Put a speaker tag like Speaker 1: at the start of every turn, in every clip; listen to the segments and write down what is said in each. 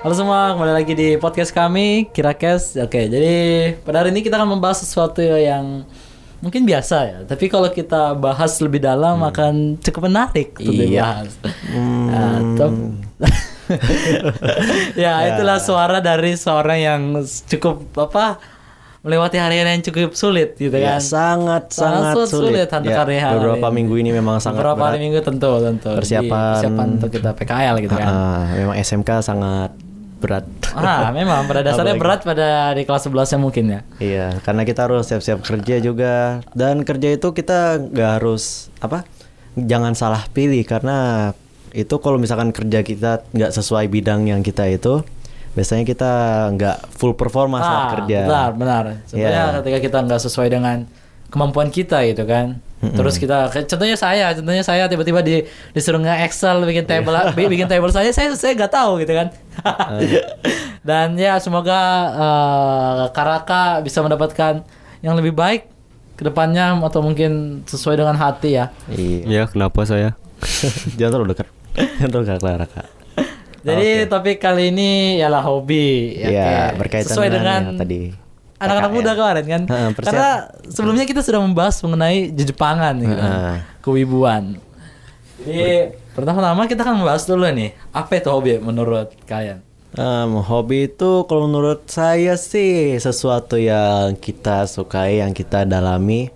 Speaker 1: Halo semua, kembali lagi di podcast kami Kiracast. Oke, jadi pada hari ini kita akan membahas sesuatu yang mungkin biasa ya, tapi kalau kita bahas lebih dalam akan cukup menarik untuk
Speaker 2: Hmm. Iya. Hmm.
Speaker 1: dibahas. Nah, top- ya, itulah suara dari seorang yang cukup apa melewati harian yang cukup sulit gitu
Speaker 2: Ya,
Speaker 1: kan.
Speaker 2: sangat
Speaker 1: Sangat
Speaker 2: sangat
Speaker 1: sulit
Speaker 2: sulit.
Speaker 1: Tante
Speaker 2: Ya,
Speaker 1: Karya hari
Speaker 2: beberapa
Speaker 1: ini.
Speaker 2: minggu ini memang sangat
Speaker 1: Beberapa hari
Speaker 2: berat.
Speaker 1: minggu tentu tentu Jadi,
Speaker 2: Persiapan-
Speaker 1: persiapan untuk kita PKL gitu kan.
Speaker 2: Ah, memang SMK sangat berat.
Speaker 1: Ah, memang pada dasarnya berat pada di kelas 11 yang mungkin ya.
Speaker 2: Iya, karena kita harus siap-siap kerja juga. Dan kerja itu kita nggak harus apa? Jangan salah pilih karena itu kalau misalkan kerja kita nggak sesuai bidang yang kita itu, biasanya kita nggak full performa saat
Speaker 1: Ah,
Speaker 2: kerja.
Speaker 1: Benar, benar. Sebenarnya
Speaker 2: Iya.
Speaker 1: ketika kita nggak sesuai dengan kemampuan kita gitu kan. Terus kita kayak contohnya saya, contohnya saya tiba-tiba di disuruh nge Excel bikin table bi- bikin table saya saya saya nggak tahu gitu kan.
Speaker 2: Uh.
Speaker 1: Dan ya semoga eh, Karaka bisa mendapatkan yang lebih baik ke depannya atau mungkin sesuai dengan hati ya.
Speaker 2: Iya.
Speaker 3: Ya kenapa saya?
Speaker 2: Jangan terlalu dekat. Jangan terlalu dekat Clara, Kak.
Speaker 1: Jadi topik kali ini ialah hobi
Speaker 2: Iya,
Speaker 1: oke.
Speaker 2: berkaitan
Speaker 1: sesuai
Speaker 2: dengan
Speaker 1: dengan
Speaker 2: yang tadi. ya.
Speaker 1: anak-anak
Speaker 2: PKL.
Speaker 1: muda kemarin kan.
Speaker 2: Heeh, persiapan.
Speaker 1: Karena sebelumnya kita sudah membahas mengenai jejepangan gitu.
Speaker 2: Heeh.
Speaker 1: kan, Kewibuan. Jadi pertama-tama kita akan membahas dulu nih, apa itu hobi menurut kalian?
Speaker 2: Em, Um, hobi itu kalau menurut saya sih sesuatu yang kita sukai, yang kita dalami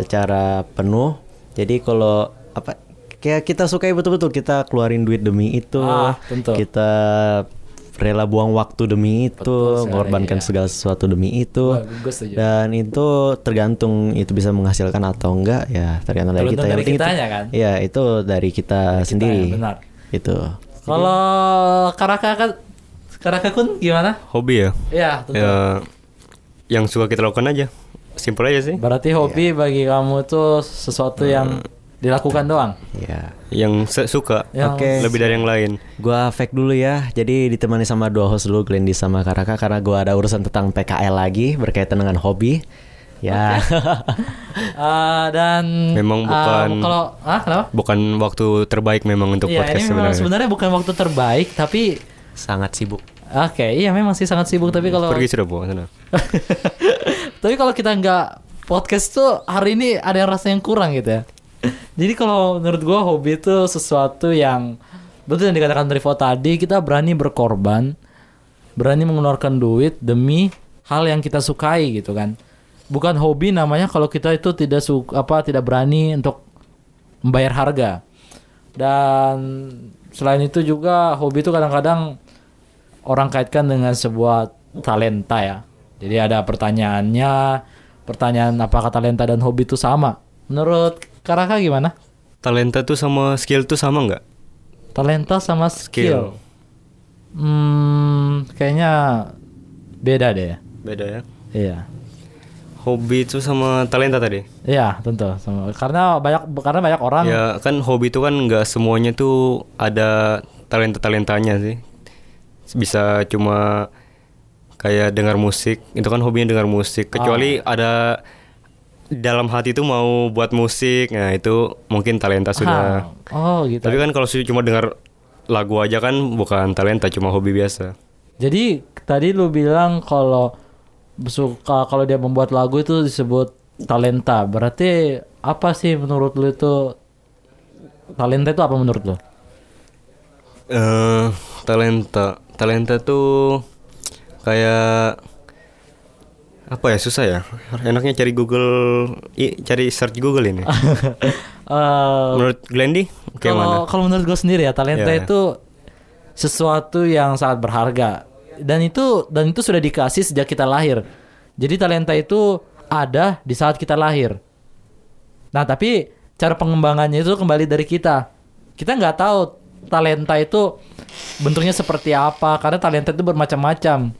Speaker 2: secara penuh. Jadi kalau apa kayak kita sukai betul-betul kita keluarin duit demi itu.
Speaker 1: Ah, tentu.
Speaker 2: Kita rela buang waktu demi
Speaker 1: Betul
Speaker 2: itu,
Speaker 1: sekali,
Speaker 2: mengorbankan
Speaker 1: iya.
Speaker 2: segala sesuatu demi
Speaker 1: Wah,
Speaker 2: itu.
Speaker 1: gue setuju.
Speaker 2: Dan itu tergantung itu bisa menghasilkan atau enggak ya tergantung dari
Speaker 1: Tergantung
Speaker 2: kita. Yang
Speaker 1: dari
Speaker 2: penting itu-
Speaker 1: kitanya, kan?
Speaker 2: Iya, itu dari kita sendiri.
Speaker 1: benar.
Speaker 2: Itu.
Speaker 1: Kalau Karaka kan Karaka kun gimana?
Speaker 3: Hobi ya?
Speaker 1: Ya, tentu.
Speaker 3: Ya yang suka kita lakukan aja. Simpel aja sih.
Speaker 1: Berarti
Speaker 3: Iya.
Speaker 1: hobi bagi kamu itu sesuatu yang dilakukan doang.
Speaker 2: Iya.
Speaker 3: Yang se- suka.
Speaker 1: Yang-
Speaker 2: Oke.
Speaker 3: Lebih dari yang lain.
Speaker 2: Gua fake dulu ya. Jadi ditemani sama dua host dulu Glendy sama Karaka karena gua ada urusan tentang PKL lagi berkaitan dengan hobi. Ya.
Speaker 1: Eh, dan
Speaker 3: Memang
Speaker 1: eh,
Speaker 3: bukan-
Speaker 1: kalau ah kenapa?
Speaker 3: Bukan waktu terbaik memang untuk
Speaker 1: Iya, ini
Speaker 3: podcast
Speaker 1: memang
Speaker 3: sebenarnya.
Speaker 1: sebenarnya bukan waktu terbaik, tapi
Speaker 2: Sangat sibuk.
Speaker 1: oke, iya memang sih sangat sibuk. Tapi kalau
Speaker 3: Hmm, Pergi sudah bu sana.
Speaker 1: tapi kalau kita nggak podcast tuh hari ini ada yang rasa yang kurang gitu ya. Jadi kalau menurut gua hobi itu sesuatu yang betul yang dikatakan Rivo tadi, kita berani berkorban, berani mengeluarkan duit demi hal yang kita sukai gitu kan. Bukan hobi namanya kalau kita itu tidak suka apa tidak berani untuk membayar harga. Dan selain itu juga hobi itu kadang-kadang orang kaitkan dengan sebuah talenta ya. Jadi ada pertanyaannya, pertanyaan apakah talenta dan hobi itu sama? Menurut Karaka gimana?
Speaker 3: Talenta tuh sama skill tuh sama nggak?
Speaker 1: Talenta sama skill.
Speaker 3: Skill.
Speaker 1: Hmm, kayaknya beda deh. ya.
Speaker 3: Beda ya.
Speaker 1: Iya.
Speaker 3: Hobi itu sama talenta tadi.
Speaker 1: Iya, tentu sama. Karena banyak karena banyak orang
Speaker 3: Ya kan hobi itu kan nggak semuanya tuh ada talenta talentanya sih. Bisa cuma kayak dengar musik. Itu kan hobinya dengar musik. Kecuali ada dalam hati tuh mau buat musik. Nah itu mungkin talenta sudah.
Speaker 1: Ah, Oh, gitu.
Speaker 3: Tapi kan kalau su- cuma dengar lagu aja kan bukan talenta, cuma hobi biasa.
Speaker 1: Jadi tadi lu bilang kalau suka kalau dia membuat lagu itu disebut talenta. Berarti apa sih menurut lu itu talenta itu apa menurut lu?
Speaker 3: eh talenta, talenta tuh kayak apa ya susah ya. Enaknya cari Google, i- cari search Google ini.
Speaker 1: Eh,
Speaker 3: Menurut Glendy, kayak mana?
Speaker 1: Ah, kalau kalau menurut gue sendiri ya talenta
Speaker 3: Iya.
Speaker 1: itu sesuatu yang sangat berharga dan itu dan itu sudah dikasih sejak kita lahir. Jadi talenta itu ada di saat kita lahir. Nah tapi cara pengembangannya itu kembali dari kita. Kita nggak tahu talenta itu bentuknya seperti apa karena talenta itu bermacam-macam.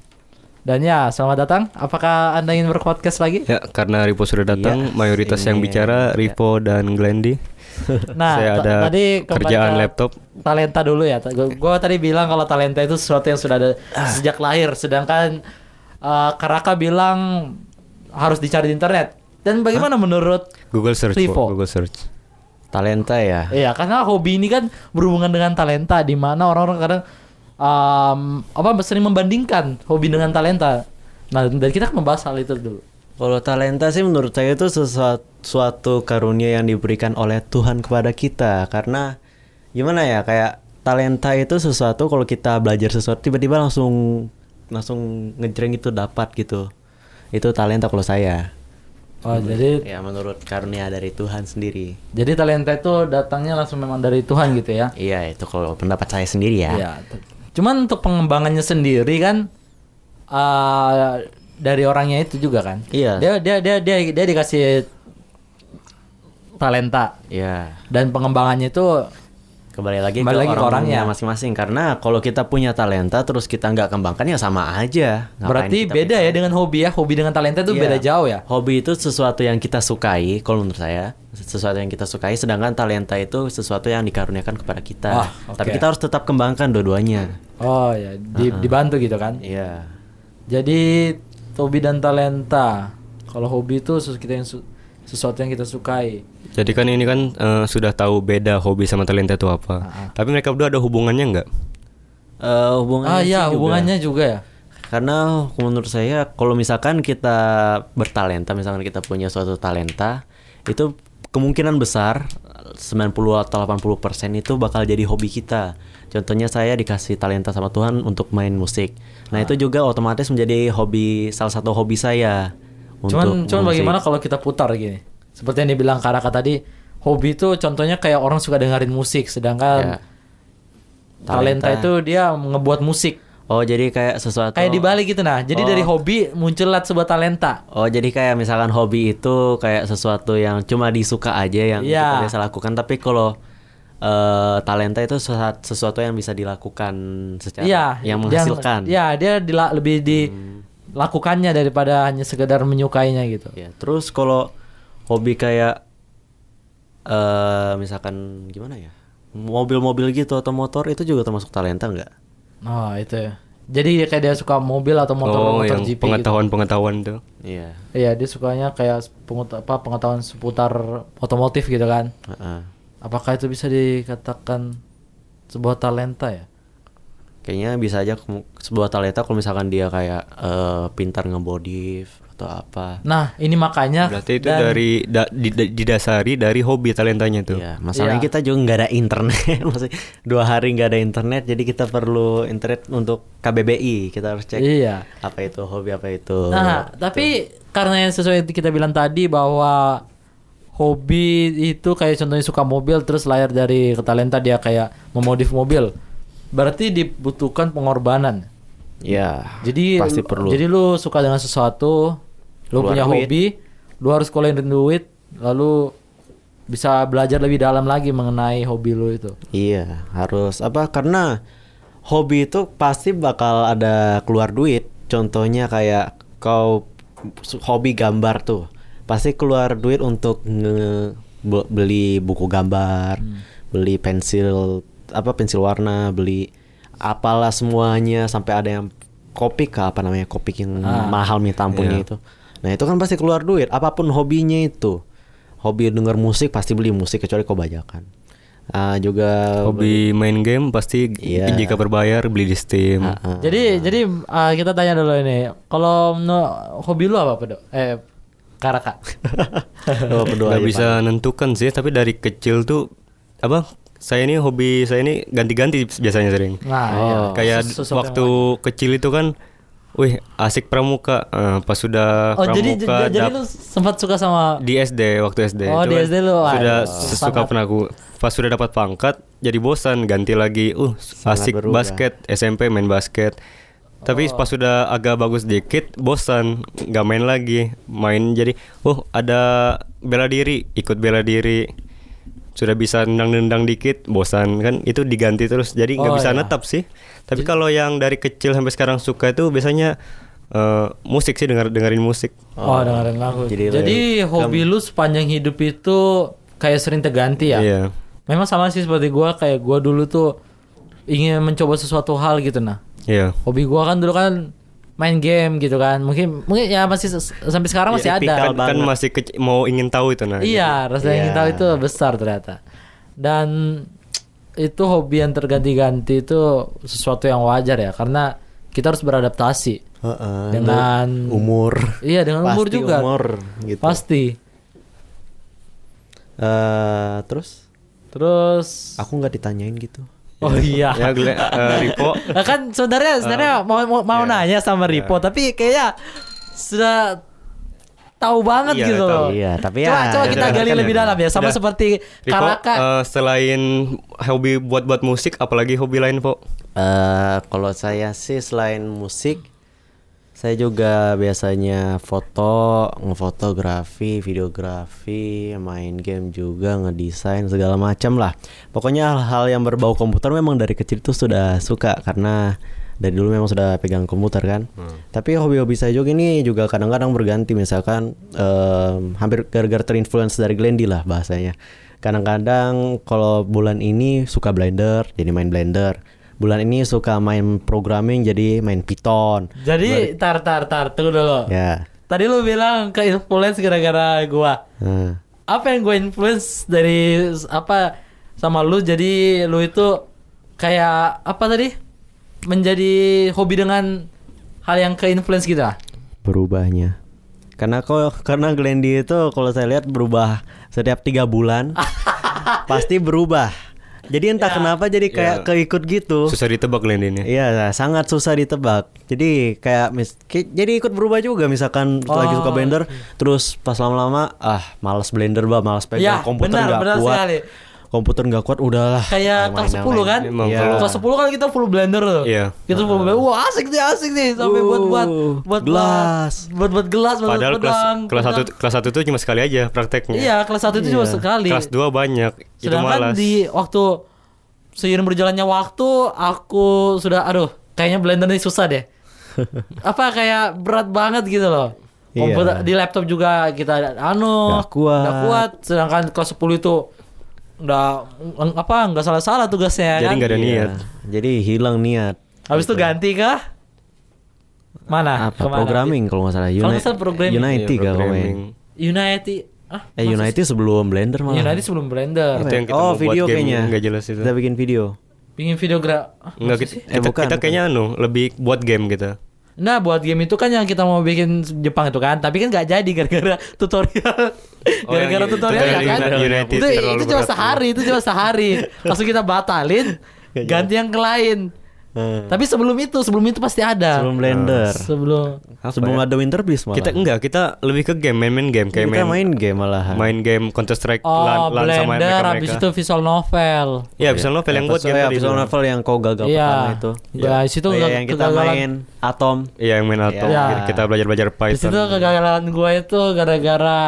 Speaker 1: Dan ya selamat datang. Apakah anda ingin berpodcast lagi?
Speaker 3: Ya, karena Ripo sudah
Speaker 1: Iya,
Speaker 3: datang, mayoritas yang bicara Ripo dan Glendy.
Speaker 1: Nah,
Speaker 3: Saya
Speaker 1: ta-
Speaker 3: ada
Speaker 1: tadi kembali
Speaker 3: kerjaan
Speaker 1: ke
Speaker 3: laptop.
Speaker 1: Talenta dulu ya. Ta- Gua, gua tadi bilang kalau talenta itu sesuatu yang sudah ada
Speaker 3: Ah.
Speaker 1: sejak lahir, sedangkan eh, Karaka bilang harus dicari di internet. Dan bagaimana menurut
Speaker 3: Google search, Bu,
Speaker 1: Ripo.
Speaker 3: Google search.
Speaker 2: Talenta ya.
Speaker 1: Iya, karena hobi ini kan berhubungan dengan talenta di mana orang-orang kadang um, apa sering membandingkan hobi dengan talenta. Nah, dan kita akan membahas hal itu dulu.
Speaker 2: Kalau talenta sih menurut saya itu sesuatu suatu karunia yang diberikan oleh Tuhan kepada kita karena gimana ya kayak talenta itu sesuatu kalau kita belajar sesuatu tiba-tiba langsung langsung ngejreng itu dapat gitu. Itu talenta kalau saya.
Speaker 1: Oh, jadi
Speaker 2: Ya menurut karunia dari Tuhan sendiri.
Speaker 1: jadi talenta itu datangnya langsung memang dari Tuhan gitu ya.
Speaker 2: Iya, itu kalau pendapat saya sendiri ya.
Speaker 1: Iya. t- Cuman untuk pengembangannya sendiri kan eh dari orangnya itu juga kan.
Speaker 2: Iya.
Speaker 1: Dia dia dia dia dia dikasih talenta
Speaker 2: Iya.
Speaker 1: dan pengembangannya itu
Speaker 2: Kembali lagi
Speaker 1: Kembali
Speaker 2: ke
Speaker 1: lagi ke
Speaker 2: orangnya
Speaker 1: orangnya.
Speaker 2: masing-masing karena kalau kita punya talenta terus kita nggak kembangkan ya sama aja. Ngapain
Speaker 1: berarti
Speaker 2: kita
Speaker 1: beda ya dengan hobi ya. Hobi dengan talenta itu
Speaker 2: Iya.
Speaker 1: beda jauh ya.
Speaker 2: Hobi itu sesuatu yang kita sukai, kalau menurut saya, sesuatu yang kita sukai. Sedangkan talenta itu sesuatu yang dikaruniakan kepada kita.
Speaker 1: Ah,
Speaker 2: Tapi
Speaker 1: oke.
Speaker 2: kita harus tetap kembangkan dua-duanya.
Speaker 1: Oh ya, di- dibantu gitu kan.
Speaker 2: Iya.
Speaker 1: Jadi hobi dan talenta. Kalau hobi itu sesu- kita yang su- sesuatu yang kita sukai.
Speaker 3: Jadi kan ini kan eh, sudah tahu beda hobi sama talenta itu
Speaker 1: Ah,
Speaker 3: apa. Tapi mereka berdua ada hubungannya nggak?
Speaker 2: Eh, hubungannya
Speaker 1: ah
Speaker 2: sih
Speaker 1: ya,
Speaker 2: juga.
Speaker 1: hubungannya juga ya.
Speaker 2: Karena menurut saya kalau misalkan kita bertalenta, misalkan kita punya suatu talenta, itu kemungkinan besar 90 atau 80% itu bakal jadi hobi kita. Contohnya saya dikasih talenta sama Tuhan untuk main musik. Nah,
Speaker 1: Ah.
Speaker 2: itu juga otomatis menjadi hobi salah satu hobi saya.
Speaker 1: Cuman cuman
Speaker 2: bermusik.
Speaker 1: bagaimana kalau kita putar gini? Seperti yang dibilang Karaka tadi, hobi itu contohnya kayak orang suka dengerin musik, sedangkan
Speaker 2: Ya.
Speaker 1: um, talenta. itu dia ngebuat musik.
Speaker 2: Oh, jadi kayak sesuatu
Speaker 1: Kayak dibalik gitu nah. Jadi dari hobi muncullah sebuah talenta.
Speaker 2: Oh jadi kayak misalkan hobi itu kayak sesuatu yang cuma disuka aja yang
Speaker 1: Iya.
Speaker 2: kita biasa lakukan tapi kalau eh, talenta itu sesa- sesuatu yang bisa dilakukan secara
Speaker 1: Iya,
Speaker 2: yang menghasilkan.
Speaker 1: Iya, dia dila- lebih dilakukannya daripada hanya sekedar menyukainya gitu.
Speaker 2: Ya, terus kalau hobi kayak eh misalkan gimana ya mobil-mobil gitu atau motor itu juga termasuk talenta nggak?
Speaker 1: Oh, itu ya. Jadi kayak dia suka mobil atau
Speaker 3: oh,
Speaker 1: motor-motor
Speaker 3: yang
Speaker 1: GP gitu.
Speaker 3: pengetahuan-pengetahuan itu.
Speaker 2: Iya.
Speaker 1: Iya, dia sukanya kayak pengut- apa, pengetahuan seputar otomotif gitu kan.
Speaker 2: Heeh.
Speaker 1: Apakah itu bisa dikatakan sebuah talenta ya?
Speaker 2: Kayaknya bisa aja kemu- sebuah talenta kalau misalkan dia kayak eh, pintar ngebodif atau apa.
Speaker 1: Nah, ini makanya
Speaker 3: Berarti itu
Speaker 1: dan-
Speaker 3: dari da- di- di- didasari dari hobi talentanya itu.
Speaker 2: Iya, masalahnya
Speaker 1: Iya.
Speaker 2: kita juga nggak ada internet, masih dua hari nggak ada internet, jadi kita perlu internet untuk KBBI, kita harus cek Oh,
Speaker 1: Iya.
Speaker 2: apa itu hobi apa itu.
Speaker 1: Nah, tapi karena yang sesuai yang kita bilang tadi bahwa hobi itu kayak contohnya suka mobil terus layar dari talenta dia kayak memodif mobil. Berarti dibutuhkan pengorbanan.
Speaker 2: Iya.
Speaker 1: Jadi
Speaker 2: Pasti perlu.
Speaker 1: Jadi lu suka dengan sesuatu, lu
Speaker 2: Keluar
Speaker 1: punya
Speaker 2: duit.
Speaker 1: hobi, lu harus keluarin duit, lalu bisa belajar lebih dalam lagi mengenai hobi lu itu.
Speaker 2: Iya, harus apa? Karena hobi itu pasti bakal ada keluar duit. Contohnya kayak kau su- hobi gambar tuh, pasti keluar duit untuk nge- be- beli buku gambar, beli pensil apa pensil warna, beli apalah semuanya sampai ada yang kopik kah, apa namanya kopik yang mahal minta ampunnya itu. Nah itu kan pasti keluar duit. Apapun hobinya itu, hobi denger musik pasti beli musik kecuali kau bajakan. Ah, juga
Speaker 3: Hobi main game pasti
Speaker 2: Iya.
Speaker 3: jika berbayar beli di Steam.
Speaker 1: Jadi jadi uh, kita tanya dulu ini. Kalau menurut- hobi lu apa, Pedo? Eh, Karaka.
Speaker 2: Oh, berdoa
Speaker 3: Nggak
Speaker 2: aja,
Speaker 3: bisa nentukan sih, tapi dari kecil tuh apa? Saya ini hobi saya ini ganti-ganti biasanya sering.
Speaker 1: Nah, iya.
Speaker 3: Kayak
Speaker 1: Sesuatu yang
Speaker 3: waktu kecil itu kan, wih asik pramuka. Eh, pas sudah
Speaker 1: Oh,
Speaker 3: pramuka
Speaker 1: jadi jadi, jadi
Speaker 3: dap-
Speaker 1: lu sempat suka sama
Speaker 3: di SD waktu SD.
Speaker 1: Oh, di
Speaker 3: Cuman
Speaker 1: SD lu,
Speaker 3: Sudah
Speaker 1: aduh,
Speaker 3: suka pernah aku. Pas sudah dapat pangkat, jadi bosan ganti lagi. Uh, asik
Speaker 2: berubah.
Speaker 3: basket SMP main basket. Tapi pas sudah agak bagus dikit, bosan nggak main lagi. Main jadi, oh ada bela diri, ikut bela diri. Sudah bisa nendang-nendang dikit, bosan kan itu diganti terus. Jadi nggak
Speaker 1: Oh,
Speaker 3: bisa
Speaker 1: iya.
Speaker 3: netap sih. Tapi kalau yang dari kecil sampai sekarang suka itu biasanya eh, musik sih denger dengerin musik.
Speaker 1: Oh, dengerin lagu. Jadi,
Speaker 2: Jadi
Speaker 1: hobi lu sepanjang hidup itu kayak sering terganti ya.
Speaker 3: Iya.
Speaker 1: Memang sama sih seperti gua kayak gua dulu tuh ingin mencoba sesuatu hal gitu nah.
Speaker 3: Iya.
Speaker 1: Hobi gua kan dulu kan main game gitu kan. Mungkin mungkin ya masih ses- sampai sekarang masih ada.
Speaker 3: kan, kan masih kecil, mau ingin tahu itu nah
Speaker 1: Iya, rasa ingin tahu itu besar ternyata. Dan itu hobi yang terganti-ganti itu sesuatu yang wajar ya karena kita harus beradaptasi
Speaker 2: Heeh,
Speaker 1: Dengan-
Speaker 2: umur.
Speaker 1: iya dengan umur
Speaker 2: Pasti
Speaker 1: juga
Speaker 2: Umur gitu.
Speaker 1: pasti
Speaker 2: Eh, terus
Speaker 1: terus
Speaker 2: aku nggak ditanyain gitu.
Speaker 1: oh iya
Speaker 3: ya gue eh, Iya. Rico
Speaker 1: Nah, kan sebenarnya sebenarnya mau mau, mau nanya sama Ripo tapi kayaknya sudah tahu banget
Speaker 3: Iya,
Speaker 1: gitu
Speaker 3: tahu.
Speaker 1: loh.
Speaker 2: Iya, tapi
Speaker 1: coba,
Speaker 2: ya-
Speaker 1: coba kita
Speaker 3: Udah,
Speaker 1: gali
Speaker 3: kan
Speaker 1: lebih
Speaker 3: ya.
Speaker 1: dalam ya sama
Speaker 3: Udah.
Speaker 1: seperti
Speaker 3: Rico,
Speaker 1: Karaka.
Speaker 3: eh, selain hobi buat-buat musik apalagi hobi lain Po
Speaker 2: Eh kalau saya sih selain musik, saya juga biasanya foto, ngefotografi, videografi, main game juga, ngedesain segala macam lah. Pokoknya hal-hal yang berbau komputer memang dari kecil tuh sudah suka karena dari dulu memang sudah pegang komputer kan. Tapi hobi-hobi saya juga ini juga kadang-kadang berganti misalkan em, hampir gara-gara terinfluence dari Glendy lah bahasanya. Kadang-kadang kalau bulan ini suka Blender, jadi main Blender. Bulan ini suka main programming jadi main Python.
Speaker 1: Jadi tar tar tar tunggu dulu.
Speaker 2: Ya.
Speaker 1: Tadi lu bilang ke influence gara-gara gua.
Speaker 2: Nah,
Speaker 1: Apa yang gua influence dari s- apa sama lu jadi lu itu kayak apa tadi? Menjadi hobi dengan hal yang ke influence gitu lah.
Speaker 2: berubahnya. Karena kok karena Glendy itu kalau saya lihat berubah setiap tiga bulan pasti berubah. Jadi
Speaker 1: Ya,
Speaker 2: entah kenapa jadi kayak keikut gitu.
Speaker 3: susah ditebak Glenn ini
Speaker 2: Iya, sangat susah ditebak. Jadi kayak mis- ki- jadi ikut berubah juga misalkan lagi
Speaker 1: Oh,
Speaker 2: suka blender,
Speaker 1: iya.
Speaker 2: terus pas lama-lama ah malas blender bah, malas pegang
Speaker 1: Iya,
Speaker 2: komputer
Speaker 1: benar,
Speaker 2: nggak
Speaker 1: benar
Speaker 2: kuat.
Speaker 1: sekali.
Speaker 2: Komputer nggak kuat, udahlah.
Speaker 1: kayak kelas 10 kan
Speaker 3: Memang
Speaker 2: Iya.
Speaker 3: kalau-
Speaker 1: kelas 10 kan kita full blender tuh
Speaker 3: Iya.
Speaker 1: kita full blender wah asik nih asik nih sampai buat buat buat
Speaker 2: gelas.
Speaker 1: buat buat gelas buat
Speaker 3: padahal
Speaker 1: buat
Speaker 3: kelas
Speaker 1: pedang,
Speaker 3: kelas satu
Speaker 1: pedang.
Speaker 3: kelas satu itu cuma sekali aja prakteknya
Speaker 1: iya kelas satu itu cuma sekali
Speaker 3: kelas dua banyak itu
Speaker 1: sedangkan
Speaker 3: malas
Speaker 1: di waktu seiring berjalannya waktu aku sudah aduh kayaknya blender ini susah deh apa kayak berat banget gitu loh
Speaker 2: Iya.
Speaker 1: Komputer- di laptop juga kita ada- anu
Speaker 2: Nggak kuat.
Speaker 1: nggak kuat sedangkan kelas 10 itu udah mm, apa nggak salah-salah tugasnya
Speaker 3: Jadi
Speaker 1: kan?
Speaker 3: nggak ada
Speaker 2: Iya,
Speaker 3: niat.
Speaker 2: Jadi hilang niat.
Speaker 1: Habis itu ganti kah?
Speaker 3: Nah,
Speaker 1: Mana?
Speaker 2: Apa
Speaker 1: Kemana?
Speaker 2: programming kalau nggak salah?
Speaker 1: Kalau nggak
Speaker 2: Uni-
Speaker 1: salah programming.
Speaker 3: Iya,
Speaker 2: Unity kalau main.
Speaker 3: programming.
Speaker 1: United. Ah,
Speaker 2: Eh Unity ya? Eh, sebelum blender malah.
Speaker 1: United sebelum Blender.
Speaker 3: Itu yang kita
Speaker 2: oh,
Speaker 3: mau buat
Speaker 2: video
Speaker 3: game
Speaker 2: kayaknya.
Speaker 3: nggak jelas itu.
Speaker 2: Kita bikin video.
Speaker 1: Pingin videogra. ah.
Speaker 3: Enggak kita,
Speaker 2: Eh,
Speaker 3: kita-
Speaker 2: bukan,
Speaker 3: kita
Speaker 2: bukan.
Speaker 3: kayaknya anu lebih buat game gitu. kita.
Speaker 1: Nah, buat game itu kan yang kita mau bikin Jepang itu kan, tapi kan nggak jadi gara-gara tutorial.
Speaker 3: Oh, yang
Speaker 1: gara-gara
Speaker 3: ini,
Speaker 1: tutorial nggak
Speaker 3: tutorial
Speaker 1: jadi.
Speaker 3: United
Speaker 1: Itu,
Speaker 3: terlalu
Speaker 1: itu cuma
Speaker 3: berat.
Speaker 1: sehari, itu cuma sehari. Langsung kita batalin,
Speaker 2: Nggak
Speaker 1: ganti yang ke lain.
Speaker 2: Eh,
Speaker 1: Tapi sebelum itu, sebelum itu pasti ada.
Speaker 2: sebelum blender.
Speaker 1: Sebelum
Speaker 3: Ah, Apa
Speaker 2: sebelum
Speaker 3: ya?
Speaker 2: ada Winter Beast malah.
Speaker 3: Kita enggak, kita lebih ke game, main-main game kayak
Speaker 2: kita
Speaker 3: main, main
Speaker 2: main game malahan.
Speaker 3: game Counter Strike
Speaker 1: Oh,
Speaker 3: sama
Speaker 1: Blender
Speaker 3: mereka-mereka.
Speaker 1: habis itu visual novel.
Speaker 3: Ya, bisa novel yang buat game
Speaker 2: ya,
Speaker 3: tadi
Speaker 2: visual
Speaker 3: bilang.
Speaker 2: novel yang kau gagal pertama
Speaker 1: Iya.
Speaker 2: itu.
Speaker 1: Ya, di situ
Speaker 2: Oh, iya,
Speaker 1: kegag-
Speaker 2: yang kita
Speaker 1: kegagalan-
Speaker 2: main Atom.
Speaker 3: Iya, yang main Atom.
Speaker 2: Iya.
Speaker 3: Kita- Kita belajar-belajar
Speaker 1: Di situ
Speaker 3: Python.
Speaker 1: kegagalan gue itu gara-gara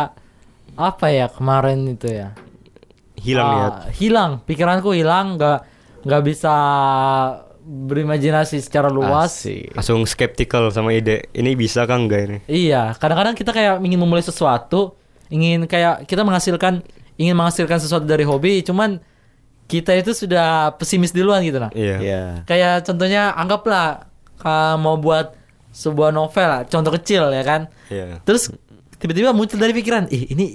Speaker 1: apa ya kemarin itu ya?
Speaker 3: Hilang
Speaker 1: Ah,
Speaker 3: niat.
Speaker 1: Hilang, pikiranku hilang, nggak nggak bisa berimajinasi secara luas.
Speaker 2: Asik.
Speaker 3: Langsung skeptical sama ide. Ini bisa kan enggak ini?
Speaker 1: Iya, kadang-kadang kita kayak ingin memulai sesuatu, ingin kayak kita menghasilkan ingin menghasilkan sesuatu dari hobi, cuman kita itu sudah pesimis duluan gitu lah.
Speaker 3: Iya.
Speaker 2: Iya.
Speaker 1: Kayak contohnya anggaplah ah, mau buat sebuah novel, lah, contoh kecil ya kan.
Speaker 3: Iya.
Speaker 1: Terus tiba-tiba muncul dari pikiran, ih ini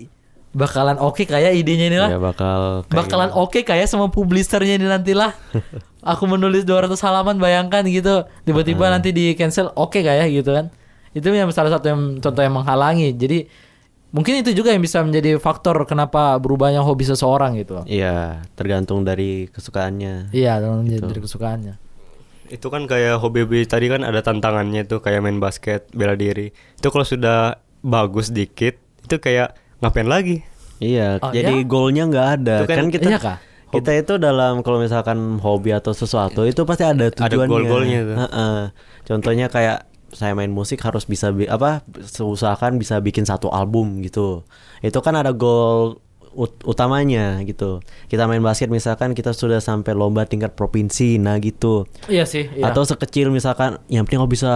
Speaker 1: bakalan oke kayak idenya
Speaker 3: Iya,
Speaker 1: ini lah.
Speaker 2: Ya bakal kayak
Speaker 1: bakalan oke kayak gitu. sama publisernya ini nantilah. Aku menulis 200 halaman bayangkan gitu. Tiba-tiba nanti di cancel oke kayak gitu kan. Itu yang salah satu yang contoh yang menghalangi. Jadi mungkin itu juga yang bisa menjadi faktor kenapa berubahnya hobi seseorang gitu.
Speaker 2: Iya, tergantung dari kesukaannya.
Speaker 1: Iya, dalam dari kesukaannya.
Speaker 3: Itu kan kayak hobi-hobi tadi kan ada tantangannya tuh kayak main basket, bela diri. Itu kalau sudah bagus dikit, itu kayak ngapain lagi?
Speaker 2: Iya,
Speaker 1: Oh,
Speaker 2: jadi
Speaker 1: iya?
Speaker 2: goalnya nggak ada.
Speaker 3: Itu kan-
Speaker 2: Kan, kita
Speaker 1: Iya kah?
Speaker 2: Kita itu dalam kalau misalkan hobi atau sesuatu itu pasti ada tujuannya.
Speaker 3: goal-goalnya tuh.
Speaker 2: Heeh. Contohnya kayak saya main musik harus bisa bi- apa usahakan bisa bikin satu album gitu. Itu kan ada goal ut- utamanya gitu. Kita main basket misalkan kita sudah sampai lomba tingkat provinsi nah gitu.
Speaker 1: Iya sih, iya.
Speaker 2: Atau sekecil misalkan yang penting aku bisa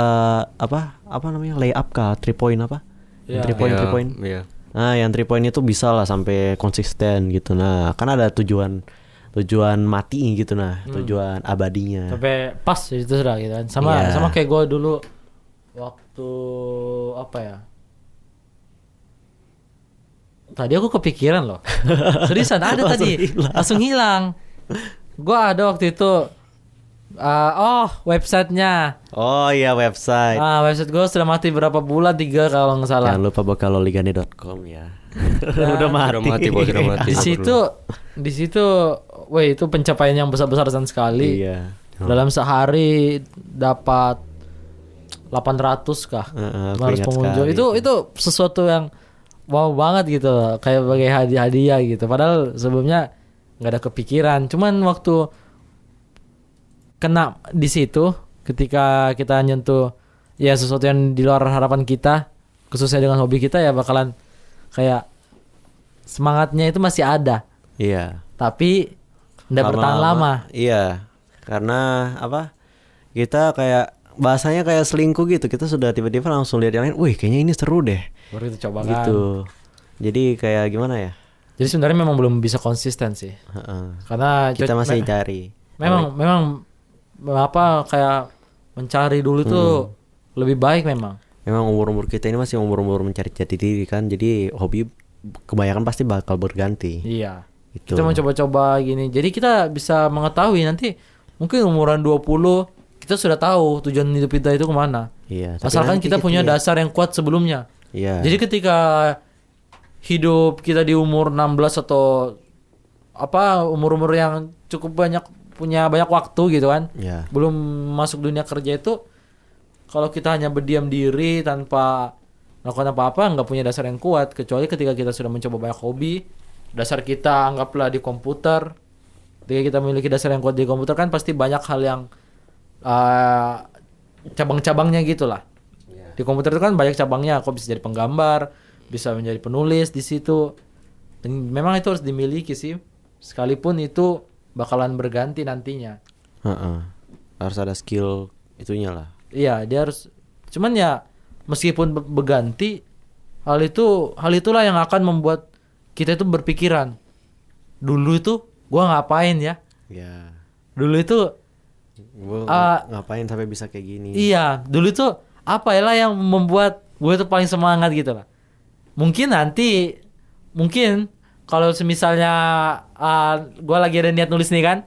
Speaker 2: apa apa namanya lay up kah three point apa? Yang
Speaker 1: Iya.
Speaker 2: Three point
Speaker 3: Iya,
Speaker 2: three point.
Speaker 3: Iya.
Speaker 2: Nah, yang three point itu bisa lah sampai konsisten gitu. Nah, kan ada tujuan tujuan mati gitu nah,
Speaker 3: Hmm.
Speaker 2: tujuan abadinya.
Speaker 1: sampai pas itu sudah gitu kan sama
Speaker 2: Iya.
Speaker 1: sama kayak gue dulu waktu apa ya tadi aku kepikiran loh seriusan ada tadi langsung hilang Gua ada waktu itu ah, oh websitenya.
Speaker 2: Oh iya website.
Speaker 1: Ah website gua sudah mati berapa bulan tiga kalau nggak salah.
Speaker 2: Jangan lupa bokalolligani.com ya. udah mati.
Speaker 3: Udah mati, Bos, udah mati.
Speaker 1: Di situ di situ, wah itu pencapaian yang besar besaran sekali.
Speaker 2: Iya.
Speaker 1: Dalam sehari dapat 800 kah?
Speaker 2: Heeh, aku
Speaker 1: 800
Speaker 2: ingat
Speaker 1: pengunjung.
Speaker 2: sekali.
Speaker 1: Itu itu sesuatu yang wow banget gitu loh. kayak sebagai hadiah-hadiah gitu. Padahal sebelumnya nggak ada kepikiran. Cuman waktu kena di situ ketika kita nyentuh ya sesuatu yang di luar harapan kita, khususnya dengan hobi kita ya bakalan kayak semangatnya itu masih ada,
Speaker 2: Iya.
Speaker 1: tapi nggak bertahan lama.
Speaker 2: Iya. Karena apa? Kita kayak bahasanya kayak selingkuh gitu. Kita sudah tiba-tiba langsung lihat yang lain, "Wih, kayaknya ini seru deh."
Speaker 1: Baru kita coba kan.
Speaker 2: Gitu. Jadi kayak gimana ya?
Speaker 1: Jadi sebenarnya memang belum bisa konsisten sih.
Speaker 2: Heeh.
Speaker 1: Karena
Speaker 2: Kita
Speaker 1: co-
Speaker 2: masih
Speaker 1: me-
Speaker 2: cari.
Speaker 1: memang memang apa kayak mencari dulu tuh
Speaker 2: Hmm.
Speaker 1: lebih baik memang.
Speaker 2: Memang umur-umur kita ini masih umur-umur mencari jati diri kan. Jadi hobi kebanyakan pasti bakal berganti.
Speaker 1: Iya.
Speaker 2: Gitu.
Speaker 1: Kita mau coba-coba gini. Jadi kita bisa mengetahui nanti mungkin umuran 20 kita sudah tahu tujuan hidup kita itu kemana.
Speaker 2: Iya, tapi
Speaker 1: Asalkan
Speaker 2: nanti
Speaker 1: kita punya dasar yang kuat sebelumnya.
Speaker 2: Iya.
Speaker 1: Jadi ketika hidup kita di umur 16 atau apa umur-umur yang cukup banyak punya banyak waktu gitu kan.
Speaker 2: Iya.
Speaker 1: belum masuk dunia kerja itu kalau kita hanya berdiam diri tanpa melakukan apa-apa nggak punya dasar yang kuat kecuali ketika kita sudah mencoba banyak hobi dasar kita anggaplah di komputer ketika kita memiliki dasar yang kuat di komputer kan pasti banyak hal yang eh, cabang-cabangnya gitu lah di komputer itu kan banyak cabangnya kok bisa jadi penggambar bisa menjadi penulis di situ dan memang itu harus dimiliki sih sekalipun itu bakalan berganti nantinya
Speaker 2: Heeh. Harus ada skill itunya lah.
Speaker 1: Iya, dia harus. Cuman ya meskipun be- berganti, hal itu hal itulah yang akan membuat kita itu berpikiran. Dulu itu gua ngapain ya?
Speaker 2: Ya.
Speaker 1: Dulu itu
Speaker 2: Gua
Speaker 1: Ah.
Speaker 2: ngapain sampai bisa kayak gini?
Speaker 1: iya, dulu itu apa ya lah yang membuat gue tuh paling semangat gitu lah. Mungkin nanti mungkin kalau semisalnya ah, gua lagi ada niat nulis nih kan,